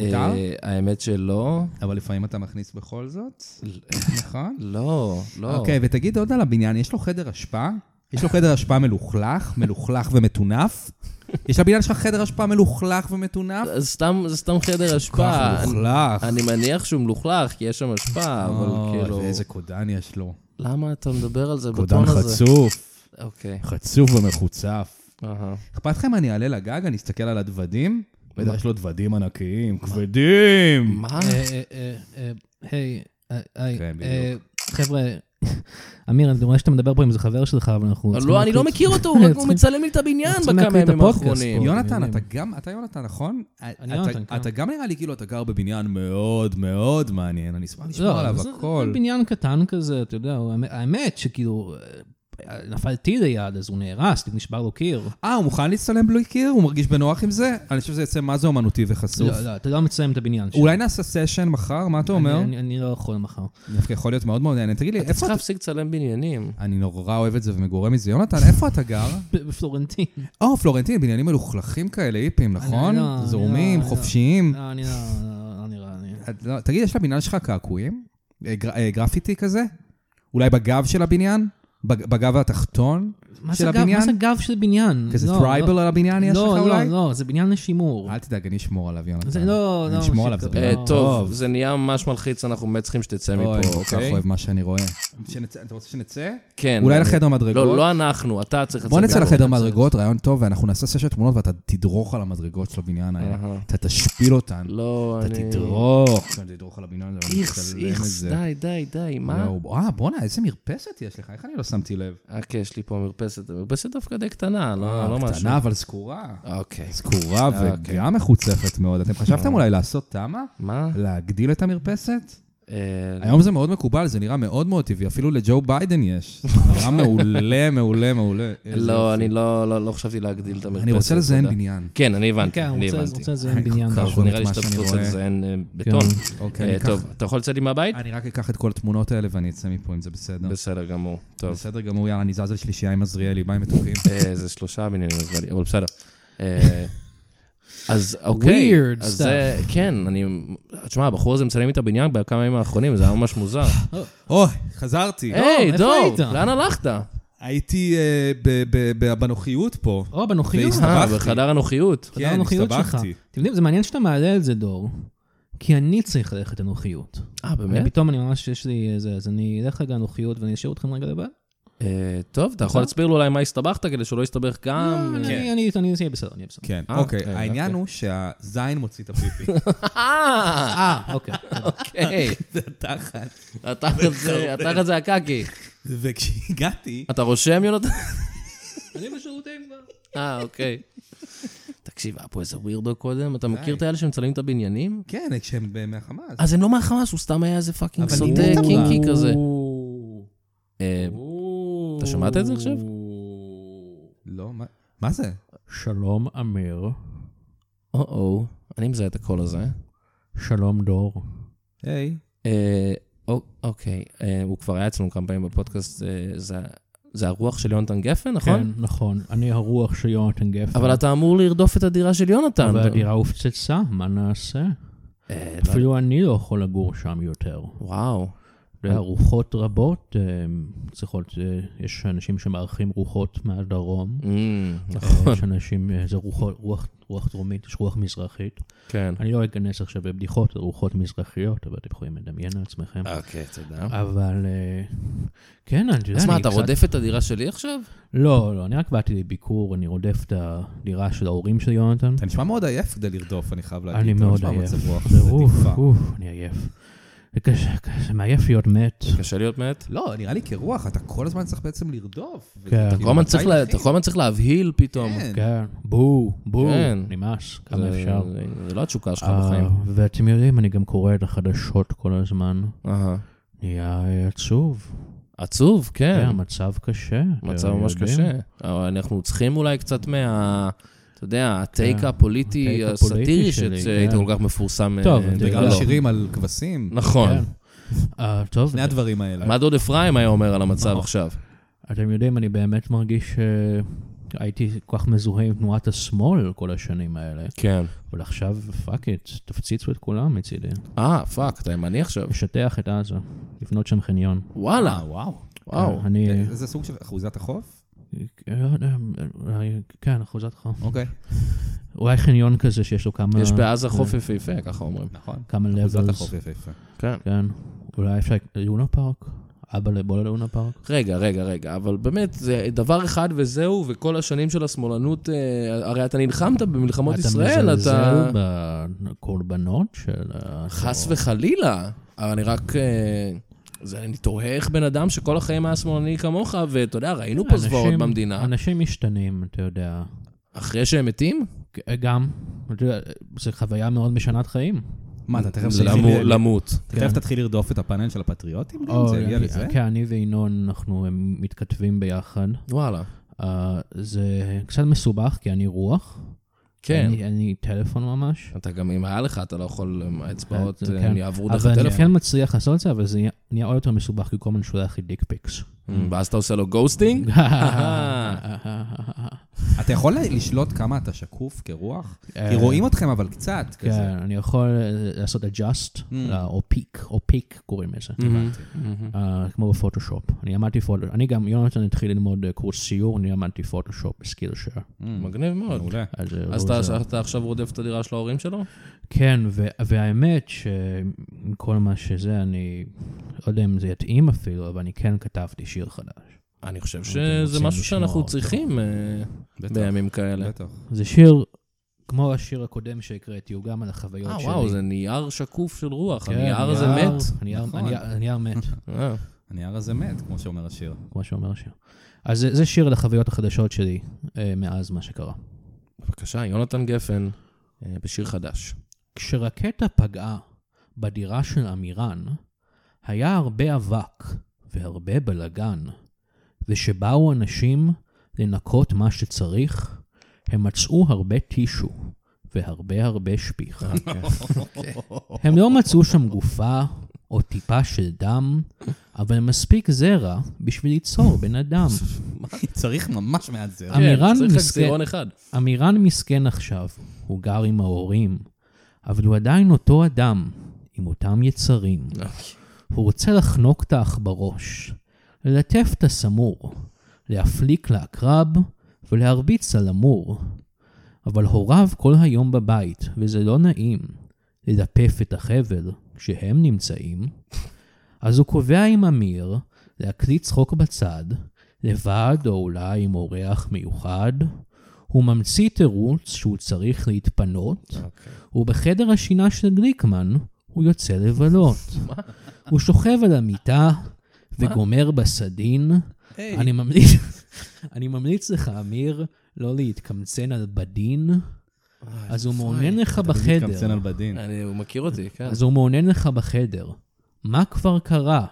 Speaker 1: אה,
Speaker 3: מותר?
Speaker 1: אה, האמת שלא.
Speaker 3: אבל לפעמים אתה מכניס בכל זאת, נכון?
Speaker 1: לא, לא.
Speaker 3: אוקיי, ותגיד עוד על הבניין, יש לו חדר אשפה? יש לו חדר אשפה מלוכלך, מלוכלך ומטונף? יש לבניין שלך חדר אשפה מלוכלך ומטונף?
Speaker 1: אז סתם, זה סתם חדר אשפה.
Speaker 3: ככה
Speaker 1: אני-
Speaker 3: מלוכלך.
Speaker 1: אני מניח שהוא מלוכלך, כי יש שם אשפה, אבל
Speaker 3: אוי,
Speaker 1: כאילו...
Speaker 3: ואיזה קודן יש לו.
Speaker 1: למה אתה מדבר על זה
Speaker 3: קודן
Speaker 1: בטון הזה?
Speaker 3: חצוף,
Speaker 1: אוקיי.
Speaker 3: חצוף ומחוצף.
Speaker 1: אהה.
Speaker 3: אכפת לכם אני אעלה לגג, אני אסתכל על הדוודים? בטח יש לו דוודים ענקיים, כבדים.
Speaker 1: מה?
Speaker 2: אה, אה, אה, אה, היי, אה, היי,
Speaker 3: כן,
Speaker 2: אה, חבר'ה, [laughs] אמיר, אני רואה שאתה מדבר פה עם איזה חבר שלך, אבל אנחנו... צריכים
Speaker 1: לא, אני לא
Speaker 2: להקליט.
Speaker 1: מכיר אותו, הוא רק-
Speaker 3: [laughs]
Speaker 1: הוא
Speaker 2: צריכים-
Speaker 1: מצלם לי את הבניין
Speaker 2: צריכים
Speaker 1: בכמה
Speaker 2: להקליט את
Speaker 1: ימים
Speaker 2: הפודקאסט
Speaker 1: האחרונים.
Speaker 2: פה.
Speaker 3: יונתן,
Speaker 2: עניינים.
Speaker 3: אתה גם, אתה יונתן, נכון? אתה-
Speaker 2: יונתן, כן.
Speaker 3: אתה גם נראה לי כאילו אתה גר בבניין מאוד מאוד מעניין, אני אשמח לשמוע
Speaker 2: לא,
Speaker 3: עליו
Speaker 2: זה-
Speaker 3: הכל.
Speaker 2: זה בניין קטן כזה, אתה יודע, הוא- האמת שכאילו, אה, נפל טיל ליד, אז הוא נהרס, כאילו, נשבר לו קיר.
Speaker 3: אה, הוא מוכן להצטלם בלי קיר? הוא מרגיש בנוח עם זה? אני חושב שזה יצא מה זה אומנותי וחשוף.
Speaker 2: לא, לא, אתה לא מצלם את הבניין שלו.
Speaker 3: אולי נעשה סשן מחר, מה אתה
Speaker 2: אני-
Speaker 3: אומר?
Speaker 2: אני אני לא יכול מחר. [laughs]
Speaker 3: דווקא יכול להיות מאוד מאוד מעניין. תגיד לי,
Speaker 1: אתה
Speaker 3: איפה
Speaker 1: צריך
Speaker 3: אתה...
Speaker 1: להפסיק לצלם בניינים.
Speaker 3: אני נורא אוהב את זה ומגורם מזה. יונתן, איפה אתה גר?
Speaker 2: ב- בפלורנטין.
Speaker 3: או, פלורנטין, בניינים מלוכלכים כאלה, היפים, נכון?
Speaker 2: לא, אני לא,
Speaker 3: זורמים,
Speaker 2: אני לא.
Speaker 3: חופשיים.
Speaker 2: לא, אני לא- לא נראה לי.
Speaker 3: את לא- תגיד, יש לבניין שלך קעקועים? אה, גר- אה, גרפיטי כזה? אולי בגב של הבניין? בג- בגב התחתון?
Speaker 2: מה
Speaker 3: של
Speaker 2: זה גב-
Speaker 3: הבניין?
Speaker 2: מה זה גב של בניין?
Speaker 3: כזה
Speaker 2: לא,
Speaker 3: טרייבל
Speaker 2: לא.
Speaker 3: על הבניין יש לך
Speaker 2: לא,
Speaker 3: אולי?
Speaker 2: לא, לא, זה בניין לשימור.
Speaker 3: אל תדאג, אני אשמור עליו, יונתן.
Speaker 2: זה לא,
Speaker 3: אני
Speaker 2: לא,
Speaker 3: אשמור
Speaker 2: מה
Speaker 3: עליו, זה
Speaker 2: שקרה.
Speaker 1: אה,
Speaker 3: בניין.
Speaker 2: לא.
Speaker 1: טוב, זה נהיה ממש מלחיץ, אנחנו באמת צריכים שתצא
Speaker 3: אוי,
Speaker 1: מפה,
Speaker 3: אני כל כך
Speaker 1: אוקיי?
Speaker 3: אוהב מה שאני רואה. שנצא- אתה רוצה שנצא?
Speaker 1: כן.
Speaker 3: אולי
Speaker 1: אני-
Speaker 3: לחדר מדרגות?
Speaker 1: לא, לא אנחנו, אתה צריך לצאת.
Speaker 3: בוא נצא
Speaker 1: מפה.
Speaker 3: לחדר מדרגות, רעיון טוב, ואנחנו נעשה סשת תמונות ואתה תדרוך על המדרגות של הבניין האלה.
Speaker 1: אהה.
Speaker 3: אתה תשפיל אותן.
Speaker 1: לא,
Speaker 3: אתה
Speaker 1: אני...
Speaker 3: תדרוך. אתה תדרוך על הבניין הזה. ואני
Speaker 1: איכס,
Speaker 3: מצלם את
Speaker 1: איכס,
Speaker 3: זה.
Speaker 1: די, די, די, מה?
Speaker 3: יואו, אה, בואנה, איזה מרפסת יש לך, איך אני לא שמתי לב?
Speaker 1: אה, כן, יש לי פה מרפסת. מרפסת דווקא די קטנה, לא לא
Speaker 3: אה,
Speaker 1: משהו.
Speaker 3: קטנה אבל סגורה.
Speaker 1: אוקיי.
Speaker 3: סגורה וגם מחוצפת מאוד.
Speaker 1: אה.
Speaker 3: אתם חשבתם אולי לעשות תמה?
Speaker 1: מה?
Speaker 3: להגדיל את המרפסת?
Speaker 1: אה,
Speaker 3: לא. היום זה מאוד מקובל, זה נראה מאוד מאוד טבעי, אפילו לג'ו
Speaker 1: [laughs]
Speaker 3: ביידן יש. זה נראה מעולה, מעולה, מעולה. איזה
Speaker 1: לא,
Speaker 3: יופי.
Speaker 1: אני לא לא- לא חשבתי להגדיל את המרפסת.
Speaker 3: אני רוצה לזיין
Speaker 1: תודה.
Speaker 3: בניין.
Speaker 1: כן, אני הבנתי,
Speaker 2: כן, הוא
Speaker 1: אני
Speaker 2: רוצה-
Speaker 1: הבנתי.
Speaker 2: רוצה לזיין בניין.
Speaker 3: כך.
Speaker 1: טוב, נראה לי
Speaker 3: מה
Speaker 1: שאתה
Speaker 3: שאני
Speaker 1: פשוט
Speaker 3: רואה. כן.
Speaker 1: לזיין אה, בטון.
Speaker 3: אוקיי,
Speaker 1: אה,
Speaker 3: אני אקח-
Speaker 1: טוב, אתה יכול לצאת לי מהבית?
Speaker 3: אני רק אקח את כל התמונות האלה ואני אצא מפה, אם זה בסדר.
Speaker 1: בסדר גמור, טוב.
Speaker 3: בסדר גמור, יאללה, אני זז לשלישייה עם עזריאלי, ביי מתוקים.
Speaker 1: אה, זה שלושה בניינים, אז נראה לי, אבל בסדר. אה, אז אוקיי,
Speaker 2: Weird
Speaker 1: אז זה, כן, אני, תשמע, הבחור הזה מצלם לי את הבניין בכמה ימים האחרונים, זה היה ממש מוזר.
Speaker 3: אוי, חזרתי.
Speaker 1: היי,
Speaker 2: איפה
Speaker 1: דור,
Speaker 2: היית?
Speaker 1: לאן הלכת?
Speaker 3: הייתי אה, ב- ב- ב- בנוחיות פה.
Speaker 2: או, בנוחיות.
Speaker 3: והסתבכתי.
Speaker 1: אה, בחדר הנוחיות.
Speaker 2: חדר הנוחיות שלך. אתם יודעים, זה מעניין שאתה מעלה את זה, דור, כי אני צריך ללכת לנוחיות.
Speaker 1: אה, באמת?
Speaker 2: פתאום אני ממש, יש לי איזה, אז אני אלך רגע לנוחיות ואני אשאיר אתכם רגע לבד.
Speaker 1: אה, טוב, אתה יכול להסביר לו אולי מה הסתבכת כדי שלא יסתבך גם?
Speaker 2: לא, אני, אני, אני, אני אהיה בסדר, אני אהיה בסדר.
Speaker 3: כן,
Speaker 1: אה,
Speaker 3: אוקיי,
Speaker 1: אוקיי,
Speaker 3: העניין
Speaker 1: אוקיי.
Speaker 3: הוא שהזין מוציא את הפיפי.
Speaker 1: אה,
Speaker 2: אה, אוקיי.
Speaker 1: אוקיי.
Speaker 3: תחת.
Speaker 1: התחת זה- התחת זה הקקי.
Speaker 3: וכשהגעתי,
Speaker 1: אתה רושם, יונתן?
Speaker 2: אני בשירותים כבר.
Speaker 1: אה,
Speaker 2: [laughs]
Speaker 1: אוקיי. תקשיב, היה פה איזה ווירדו קודם, אתה מכיר את האלה שמצלמים את הבניינים?
Speaker 3: כן, כשהם ב- מהחמאס.
Speaker 1: אז הם לא מהחמאס, הוא סתם היה איזה פאקינג
Speaker 3: אבל
Speaker 1: סוטה
Speaker 2: [laughs]
Speaker 3: היא אמרה.
Speaker 1: קינקי כזה. אה, אתה שמעת את זה עכשיו?
Speaker 3: לא, מה- מה זה?
Speaker 2: שלום, אמיר.
Speaker 1: או-או, אני מזהה את הקול הזה.
Speaker 2: שלום, דור.
Speaker 3: היי.
Speaker 1: אה, או- אוקיי, אה, הוא כבר היה אצלנו כמה פעמים בפודקאסט, אה, זה- זה הרוח של יונתן גפן, נכון?
Speaker 2: כן, נכון. אני הרוח של יונתן גפן.
Speaker 1: אבל אתה אמור לרדוף את הדירה של יונתן.
Speaker 2: אבל הדירה הופצצה, מה נעשה?
Speaker 1: אה, לא-
Speaker 2: אפילו אני לא יכול לגור שם יותר.
Speaker 1: וואו.
Speaker 2: אתה יודע, רוחות רבות אה, צריכות, אה, יש אנשים שמארחים רוחות מהדרום.
Speaker 1: אמ,
Speaker 2: נכון. יש אנשים, אה, זה רוחות- רוח, רוח דרומית, יש רוח מזרחית.
Speaker 1: כן.
Speaker 2: אני לא אכנס עכשיו לבדיחות על רוחות מזרחיות, אבל אתם יכולים לדמיין לעצמכם.
Speaker 1: אוקיי, תודה.
Speaker 2: אבל אה, כן, אני יודע,
Speaker 1: אז מה,
Speaker 2: אני
Speaker 1: אתה
Speaker 2: קצת-
Speaker 1: רודף את הדירה שלי עכשיו?
Speaker 2: לא, לא, אני רק באתי לביקור, אני רודף את הדירה של ההורים של יונתן.
Speaker 3: אתה נשמע מאוד עייף כדי לרדוף, אני חייב להגיד.
Speaker 2: אני
Speaker 3: אתה
Speaker 2: מאוד
Speaker 3: נשמע
Speaker 2: עייף.
Speaker 3: מצב רוח,
Speaker 2: זה
Speaker 3: זה
Speaker 2: אוף,
Speaker 3: טיפה.
Speaker 2: אוף, אני עייף. קשה, קשה, מעייף להיות מת.
Speaker 1: קשה להיות מת.
Speaker 4: לא, נראה לי כרוח, אתה כל הזמן צריך בעצם לרדוף. וזה
Speaker 2: כן.
Speaker 1: אתה
Speaker 4: כאילו,
Speaker 1: כל הזמן
Speaker 4: מתי
Speaker 1: צריך לה-
Speaker 4: התחיל?
Speaker 1: אתה כל הזמן צריך להבהיל פתאום.
Speaker 4: כן.
Speaker 2: כן, בואו, בואו,
Speaker 1: כן.
Speaker 2: נמאס, כמה
Speaker 1: זה-
Speaker 2: אפשר.
Speaker 1: זה- זה לא התשוקה שלך
Speaker 2: אה,
Speaker 1: בחיים.
Speaker 2: ואתם יודעים, אני גם קורא את החדשות כל הזמן.
Speaker 1: אהה.
Speaker 2: נהיה אה, עצוב.
Speaker 1: עצוב,
Speaker 2: כן,
Speaker 1: כן.
Speaker 2: מצב קשה.
Speaker 1: מצב
Speaker 2: אתם
Speaker 1: ממש
Speaker 2: כן, יודעים.
Speaker 1: קשה. אבל אנחנו צריכים אולי קצת מה... אתה יודע, הטייק
Speaker 2: כן.
Speaker 1: הפוליטי
Speaker 2: הטייק
Speaker 1: הסאטירי
Speaker 2: הפוליטי
Speaker 1: ש-
Speaker 2: שלי,
Speaker 1: שהיית
Speaker 2: כן.
Speaker 1: כל כך מפורסם.
Speaker 2: טוב,
Speaker 1: אה,
Speaker 2: אתה
Speaker 1: וגם
Speaker 2: יודע,
Speaker 4: וגם
Speaker 1: לא.
Speaker 4: השירים על כבשים.
Speaker 1: נכון.
Speaker 2: כן. אה, טוב,
Speaker 4: שני הדברים האלה.
Speaker 1: מה דוד אפרים היה אומר על המצב
Speaker 2: נכון.
Speaker 1: עכשיו?
Speaker 2: אתם יודעים, אני באמת מרגיש שהייתי כל כך מזוהה עם תנועת השמאל כל השנים האלה,
Speaker 1: כן.
Speaker 2: אבל עכשיו, פאק איט, תפציצו את כולם מצידי.
Speaker 1: אה, פאק, אתה ימני עכשיו?
Speaker 2: לשטח את עזה, לבנות שם חניון. אה,
Speaker 1: וואלה,
Speaker 4: וואו.
Speaker 1: וואו.
Speaker 2: אני...
Speaker 4: איזה סוג של אחוזת החוף?
Speaker 2: אה, לא יודע, אולי- כן, אחוזתך.
Speaker 4: אוקיי.
Speaker 2: אולי חניון כזה שיש לו כמה...
Speaker 1: יש בעזה חוף יפהפה, ככה אומרים.
Speaker 4: נכון.
Speaker 2: כמה
Speaker 4: אחוזת
Speaker 2: levels.
Speaker 4: החוף יפהפה.
Speaker 1: כן.
Speaker 2: כן. אולי אפשר... לונה פארק? אבא לבוא ללונה פארק?
Speaker 1: רגע, רגע, רגע, אבל באמת, זה דבר אחד וזהו, וכל השנים של השמאלנות, אה, הרי אתה נלחמת במלחמות ישראל, אתה...
Speaker 2: אתה... מזלזל בקורבנות של... כן, ה-
Speaker 1: חס וחלילה, אבל אני רק... אה, זה, אני תוהה איך בן אדם שכל החיים היה שמאלני כמוך, ואתה יודע, ראינו פה
Speaker 2: אנשים-
Speaker 1: זוועות במדינה,
Speaker 2: אנשים משתנים, אתה יודע. אה,
Speaker 1: אחרי שהם מתים,
Speaker 2: גם, אתה יודע, זו חוויה מאוד משנת חיים.
Speaker 4: מה, אתה תכף
Speaker 1: למו-
Speaker 4: תתחיל-
Speaker 1: למות.
Speaker 4: אתה תכף תתחיל לרדוף את הפאנל של הפטריוטים? גם?
Speaker 2: או,
Speaker 4: זה יגיע
Speaker 2: אני-
Speaker 4: לזה?
Speaker 2: כן, אני וינון, אנחנו אה, מתכתבים ביחד.
Speaker 1: וואלה.
Speaker 2: אה, זה קצת מסובך, כי אני רוח.
Speaker 1: כן.
Speaker 2: אני- אני טלפון ממש.
Speaker 1: אתה גם, אם היה לך, אתה לא יכול, האצבעות
Speaker 2: כן,
Speaker 1: אה,
Speaker 2: כן.
Speaker 1: יעברו דרך
Speaker 2: אבל אני
Speaker 1: הטלפון.
Speaker 2: כן מצליח לעשות את זה, אבל זה נהיה- נהיה עוד יותר מסובך, כי כל הזמן שולח לי דיק פיקס.
Speaker 1: Mm, ואז אתה עושה לו
Speaker 2: [laughs]
Speaker 1: גוסטינג?
Speaker 4: אתה יכול לשלוט כמה אתה שקוף כרוח?
Speaker 1: אה.
Speaker 4: כי רואים אתכם אבל קצת, כזה.
Speaker 2: כן, אני יכול אה, לעשות adjust, אה, או פיק, או פיק קוראים לזה.
Speaker 1: Mm.
Speaker 2: אה, כמו בפוטושופ. אני למדתי פוטושופ. אני גם, יונתן התחיל ללמוד אה, קורס ציור, אני למדתי פוטושופ בסקיל שייר.
Speaker 1: מגניב מאוד.
Speaker 4: Mm, מעולה.
Speaker 2: אז אה,
Speaker 1: אז
Speaker 2: לא
Speaker 1: אתה-
Speaker 2: זה-
Speaker 1: אתה עכשיו רודף את הדירה של ההורים שלו?
Speaker 2: כן, ו- והאמת שעם כל מה שזה, אני לא יודע אם זה יתאים אפילו, אבל אני כן כתבתי שיר חדש.
Speaker 1: אני חושב
Speaker 2: רוצים
Speaker 1: שזה אוקיי, משהו
Speaker 2: לשמוע
Speaker 1: שאנחנו
Speaker 2: אותו.
Speaker 1: צריכים אה,
Speaker 4: בטח.
Speaker 1: בימים כאלה.
Speaker 4: בטח.
Speaker 2: זה שיר, כמו השיר הקודם שהקראתי, הוא גם על החוויות
Speaker 1: אה,
Speaker 2: שלי.
Speaker 1: וואו, זה נייר שקוף של רוח.
Speaker 2: כן,
Speaker 1: הנייר הזה
Speaker 2: הנייר-
Speaker 1: מת.
Speaker 2: הנייר-
Speaker 4: נכון.
Speaker 2: הנייר- הנייר מת, [laughs]
Speaker 1: אה,
Speaker 4: הנייר הזה מת, כמו שאומר השיר. [laughs]
Speaker 2: כמו שאומר השיר. אז זה- זה שיר על החוויות החדשות שלי אה, מאז מה שקרה.
Speaker 1: בבקשה, יונתן גפן, אה, בשיר חדש.
Speaker 2: כשרקטה פגעה בדירה של עמירן, היה הרבה אבק והרבה בלגן, וכשבאו אנשים לנקות מה שצריך, הם מצאו הרבה טישו והרבה הרבה שפיך. הם לא מצאו שם גופה או טיפה של דם, אבל מספיק זרע בשביל ליצור בן אדם.
Speaker 4: צריך ממש מעט
Speaker 1: אה,
Speaker 4: זה.
Speaker 2: אמירן
Speaker 1: צריך רק
Speaker 2: מסכן,
Speaker 1: סירון אחד.
Speaker 2: אמירן מסכן עכשיו, הוא גר עם ההורים, אבל הוא עדיין אותו אדם, עם אותם יצרים. הוא רוצה לחנוק את האח בראש, ללטף את הסמור, להפליק לעקרב ולהרביץ למור. אבל הוריו כל היום בבית, וזה לא נעים, לדפף את החבל כשהם נמצאים. אז הוא קובע עם אמיר להקליט צחוק בצד, לבד או אולי עם אורח מיוחד. הוא ממציא תירוץ שהוא צריך להתפנות, ובחדר השינה של גליקמן הוא יוצא לבלות. הוא שוכב על המיטה וגומר בסדין.
Speaker 1: אה.
Speaker 2: אני ממליץ, אני ממליץ לך, אמיר, לא להתקמצן על בדין. אז הוא מעונן לך
Speaker 4: קמצן
Speaker 2: בחדר.
Speaker 4: על בדין.
Speaker 1: אני- הוא מכיר אותי, כן.
Speaker 2: אז הוא מעונן לך בחדר. מה כבר קרה?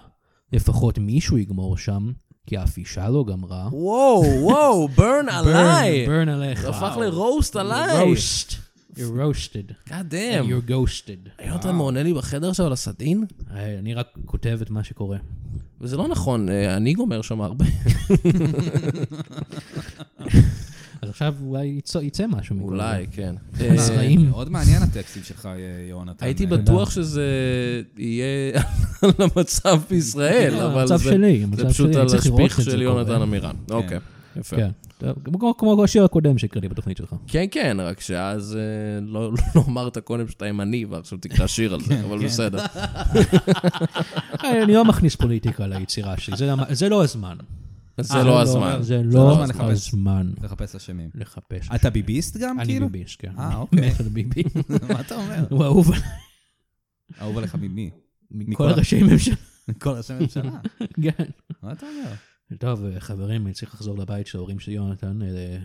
Speaker 2: לפחות מישהו יגמור שם, כי האף אישה לא גמרה.
Speaker 1: וואו, [laughs] וואו, burn עליי!
Speaker 2: ברן עליך.
Speaker 1: זה הפך לרוסט עליי!
Speaker 2: רוסט. You're roasted.
Speaker 1: God damn.
Speaker 2: You're ghosted.
Speaker 1: יונתן מעונה לי בחדר עכשיו על הסדין?
Speaker 2: היי, אני רק כותב את מה שקורה.
Speaker 1: וזה לא נכון, אה, אני גומר שם
Speaker 2: [laughs]
Speaker 1: הרבה.
Speaker 2: אז עכשיו אולי יצא- יצא משהו מכל זה.
Speaker 1: אולי, כן. אה,
Speaker 2: זרעים.
Speaker 4: מאוד מעניין הטקסטים שלך, י- יונתן.
Speaker 1: הייתי
Speaker 4: אה,
Speaker 1: בטוח שזה יהיה [laughs] על המצב בישראל,
Speaker 2: כן,
Speaker 1: אבל
Speaker 2: המצב
Speaker 1: זה-
Speaker 2: שלי,
Speaker 1: זה
Speaker 2: המצב
Speaker 1: פשוט
Speaker 2: שלי,
Speaker 1: על
Speaker 2: צריך לראות
Speaker 1: השפיך
Speaker 2: את זה
Speaker 1: של
Speaker 2: קורה.
Speaker 1: יונתן עמירן. אוקיי, יפה.
Speaker 2: כן. טוב, כמו- כמו השיר הקודם שהקראתי בתוכנית
Speaker 1: [laughs]
Speaker 2: שלך.
Speaker 1: כן, כן, רק שאז אה, לא [laughs] לא אמרת קודם שאתה ימני, ועכשיו תקרא שיר על
Speaker 2: כן,
Speaker 1: זה, אבל בסדר.
Speaker 2: אה, היי, אני לא מכניס פוליטיקה ליצירה שלי, זה לא- זה לא הזמן. אה,
Speaker 1: זה לא הזמן.
Speaker 2: זה
Speaker 4: לא
Speaker 2: לא
Speaker 4: הזמן לחפש.
Speaker 2: הזמן
Speaker 4: לחפש אשמים.
Speaker 2: לחפש.
Speaker 4: אתה ביביסט גם,
Speaker 2: אני
Speaker 4: כאילו?
Speaker 2: ביביש, כן.
Speaker 4: [laughs] אה, אוקיי.
Speaker 2: מת על ביבי.
Speaker 4: מה אתה אומר?
Speaker 2: הוא אהוב עליי.
Speaker 4: אהוב עליך ממי?
Speaker 2: מכל
Speaker 3: מכל-
Speaker 4: [laughs]
Speaker 2: הראשי ממשלה.
Speaker 3: כל ראשי הממשלה.
Speaker 2: כן.
Speaker 3: מה אתה אומר?
Speaker 2: טוב, אה, חברים, אני צריך לחזור לבית של ההורים של יונתן, אה,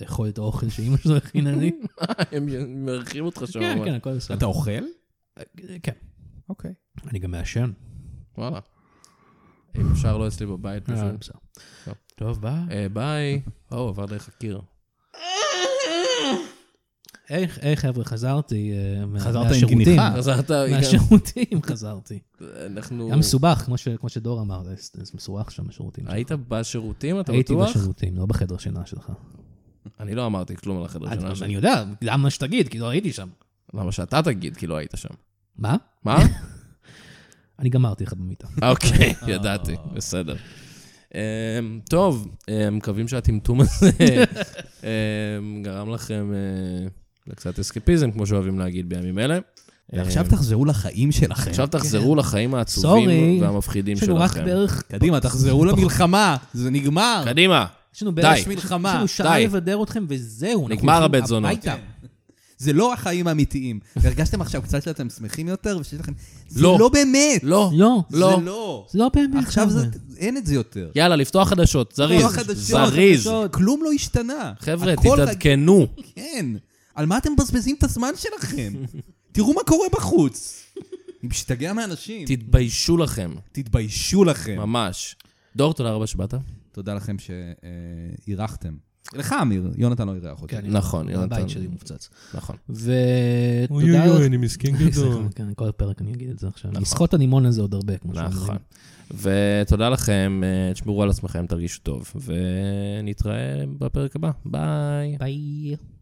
Speaker 2: לאכול את האוכל שאימא שלו הכינה
Speaker 1: [laughs]
Speaker 2: לי.
Speaker 1: [laughs] הם מארחים אותך שם.
Speaker 2: כן,
Speaker 1: ממש.
Speaker 2: כן, הכל בסדר.
Speaker 3: אתה אוכל?
Speaker 2: אה, כן.
Speaker 3: אוקיי.
Speaker 2: אני גם מעשן.
Speaker 1: וואלה. אם אפשר לא אצלי בבית.
Speaker 2: אה,
Speaker 1: פשוט.
Speaker 2: בסדר.
Speaker 1: טוב.
Speaker 2: טוב, ביי.
Speaker 1: אה, ביי. או, עבר דרך הקיר.
Speaker 2: אה, היי, היי, חבר'ה, חזרתי אה, מה-
Speaker 3: חזרת עם
Speaker 2: מהשירותים.
Speaker 3: גיניחה.
Speaker 1: חזרת,
Speaker 2: [laughs]
Speaker 1: [laughs]
Speaker 2: מהשירותים חזרתי.
Speaker 1: אנחנו...
Speaker 2: היה מסובך, כמו ש- כמו שדור אמר, זה זה מסובך שם בשירותים. שלך.
Speaker 1: היית בשירותים, אתה
Speaker 2: הייתי
Speaker 1: בטוח?
Speaker 2: בשירותים, לא בחדר שינה שלך.
Speaker 1: אני לא אמרתי כלום על החדר
Speaker 2: אני-
Speaker 1: שינה
Speaker 2: אני
Speaker 1: שלי.
Speaker 2: יודע, למה שתגיד, כי לא הייתי שם.
Speaker 1: למה שאתה תגיד, כי לא היית שם.
Speaker 2: מה?
Speaker 1: מה?
Speaker 2: אני גמרתי לך במיטה.
Speaker 1: אוקיי,
Speaker 2: [laughs]
Speaker 1: ידעתי, בסדר. אמ, טוב, אמ, מקווים שהטמטום
Speaker 2: [laughs]
Speaker 1: הזה אמ, גרם לכם אה, לקצת אסקפיזם, כמו שאוהבים להגיד בימים אלה.
Speaker 2: כן,
Speaker 3: ועכשיו
Speaker 1: אה,
Speaker 3: תחזרו לחיים שלכם.
Speaker 1: עכשיו תחזרו לחיים
Speaker 2: Sorry.
Speaker 1: העצובים והמפחידים
Speaker 2: כן. יש לנו רק
Speaker 1: שלכם.
Speaker 2: בערך...
Speaker 1: [laughs]
Speaker 3: קדימה, תחזרו למלחמה, זה נגמר.
Speaker 1: קדימה.
Speaker 2: יש לנו בערך...
Speaker 1: די.
Speaker 3: מלחמה,
Speaker 2: יש לנו שעה
Speaker 1: די.
Speaker 2: לבדר אתכם, וזהו. אנחנו
Speaker 1: נגמר כן.
Speaker 2: הולכים
Speaker 1: הבית זונות.
Speaker 2: הביתה.
Speaker 3: זה לא החיים האמיתיים. הרגשתם עכשיו קצת שאתם שמחים יותר ושיש לכם... זה
Speaker 1: לא.
Speaker 3: לא באמת.
Speaker 1: לא.
Speaker 2: לא,
Speaker 1: לא.
Speaker 3: זה לא.
Speaker 2: זה לא באמת.
Speaker 3: עכשיו זה-
Speaker 2: חבר'ה.
Speaker 3: אין את זה יותר.
Speaker 1: יאללה, לפתוח חדשות, זריז.
Speaker 3: לפתוח חדשות,
Speaker 1: זריז.
Speaker 2: חדשות.
Speaker 3: כלום לא השתנה.
Speaker 1: חבר'ה,
Speaker 3: הכל רג-
Speaker 1: תתעדכנו.
Speaker 3: כן. על מה אתם מבזבזים את הזמן
Speaker 1: [laughs]
Speaker 3: שלכם? תראו מה קורה בחוץ. אני משתגע מאנשים.
Speaker 1: תתביישו לכם,
Speaker 3: תתביישו
Speaker 2: כן.
Speaker 3: לכם.
Speaker 1: ממש. דור, תודה רבה שבאת.
Speaker 3: תודה לכם שאירחתם. לך, אמיר, יונתן לא אירח
Speaker 2: כן,
Speaker 3: אותי.
Speaker 2: אני-
Speaker 1: נכון, יונתן.
Speaker 2: הבית שלי מופצץ.
Speaker 1: נכון.
Speaker 2: ותודה לך. אני מסכן [laughs] גדול. כן, כל פרק אני אגיד את זה עכשיו. לסחוט הנימון הזה עוד הרבה, כמו שאומרים.
Speaker 1: נכון. ותודה לכם, אה, תשמרו על עצמכם, תרגישו טוב, ונתראה בפרק הבא. ביי.
Speaker 2: ביי.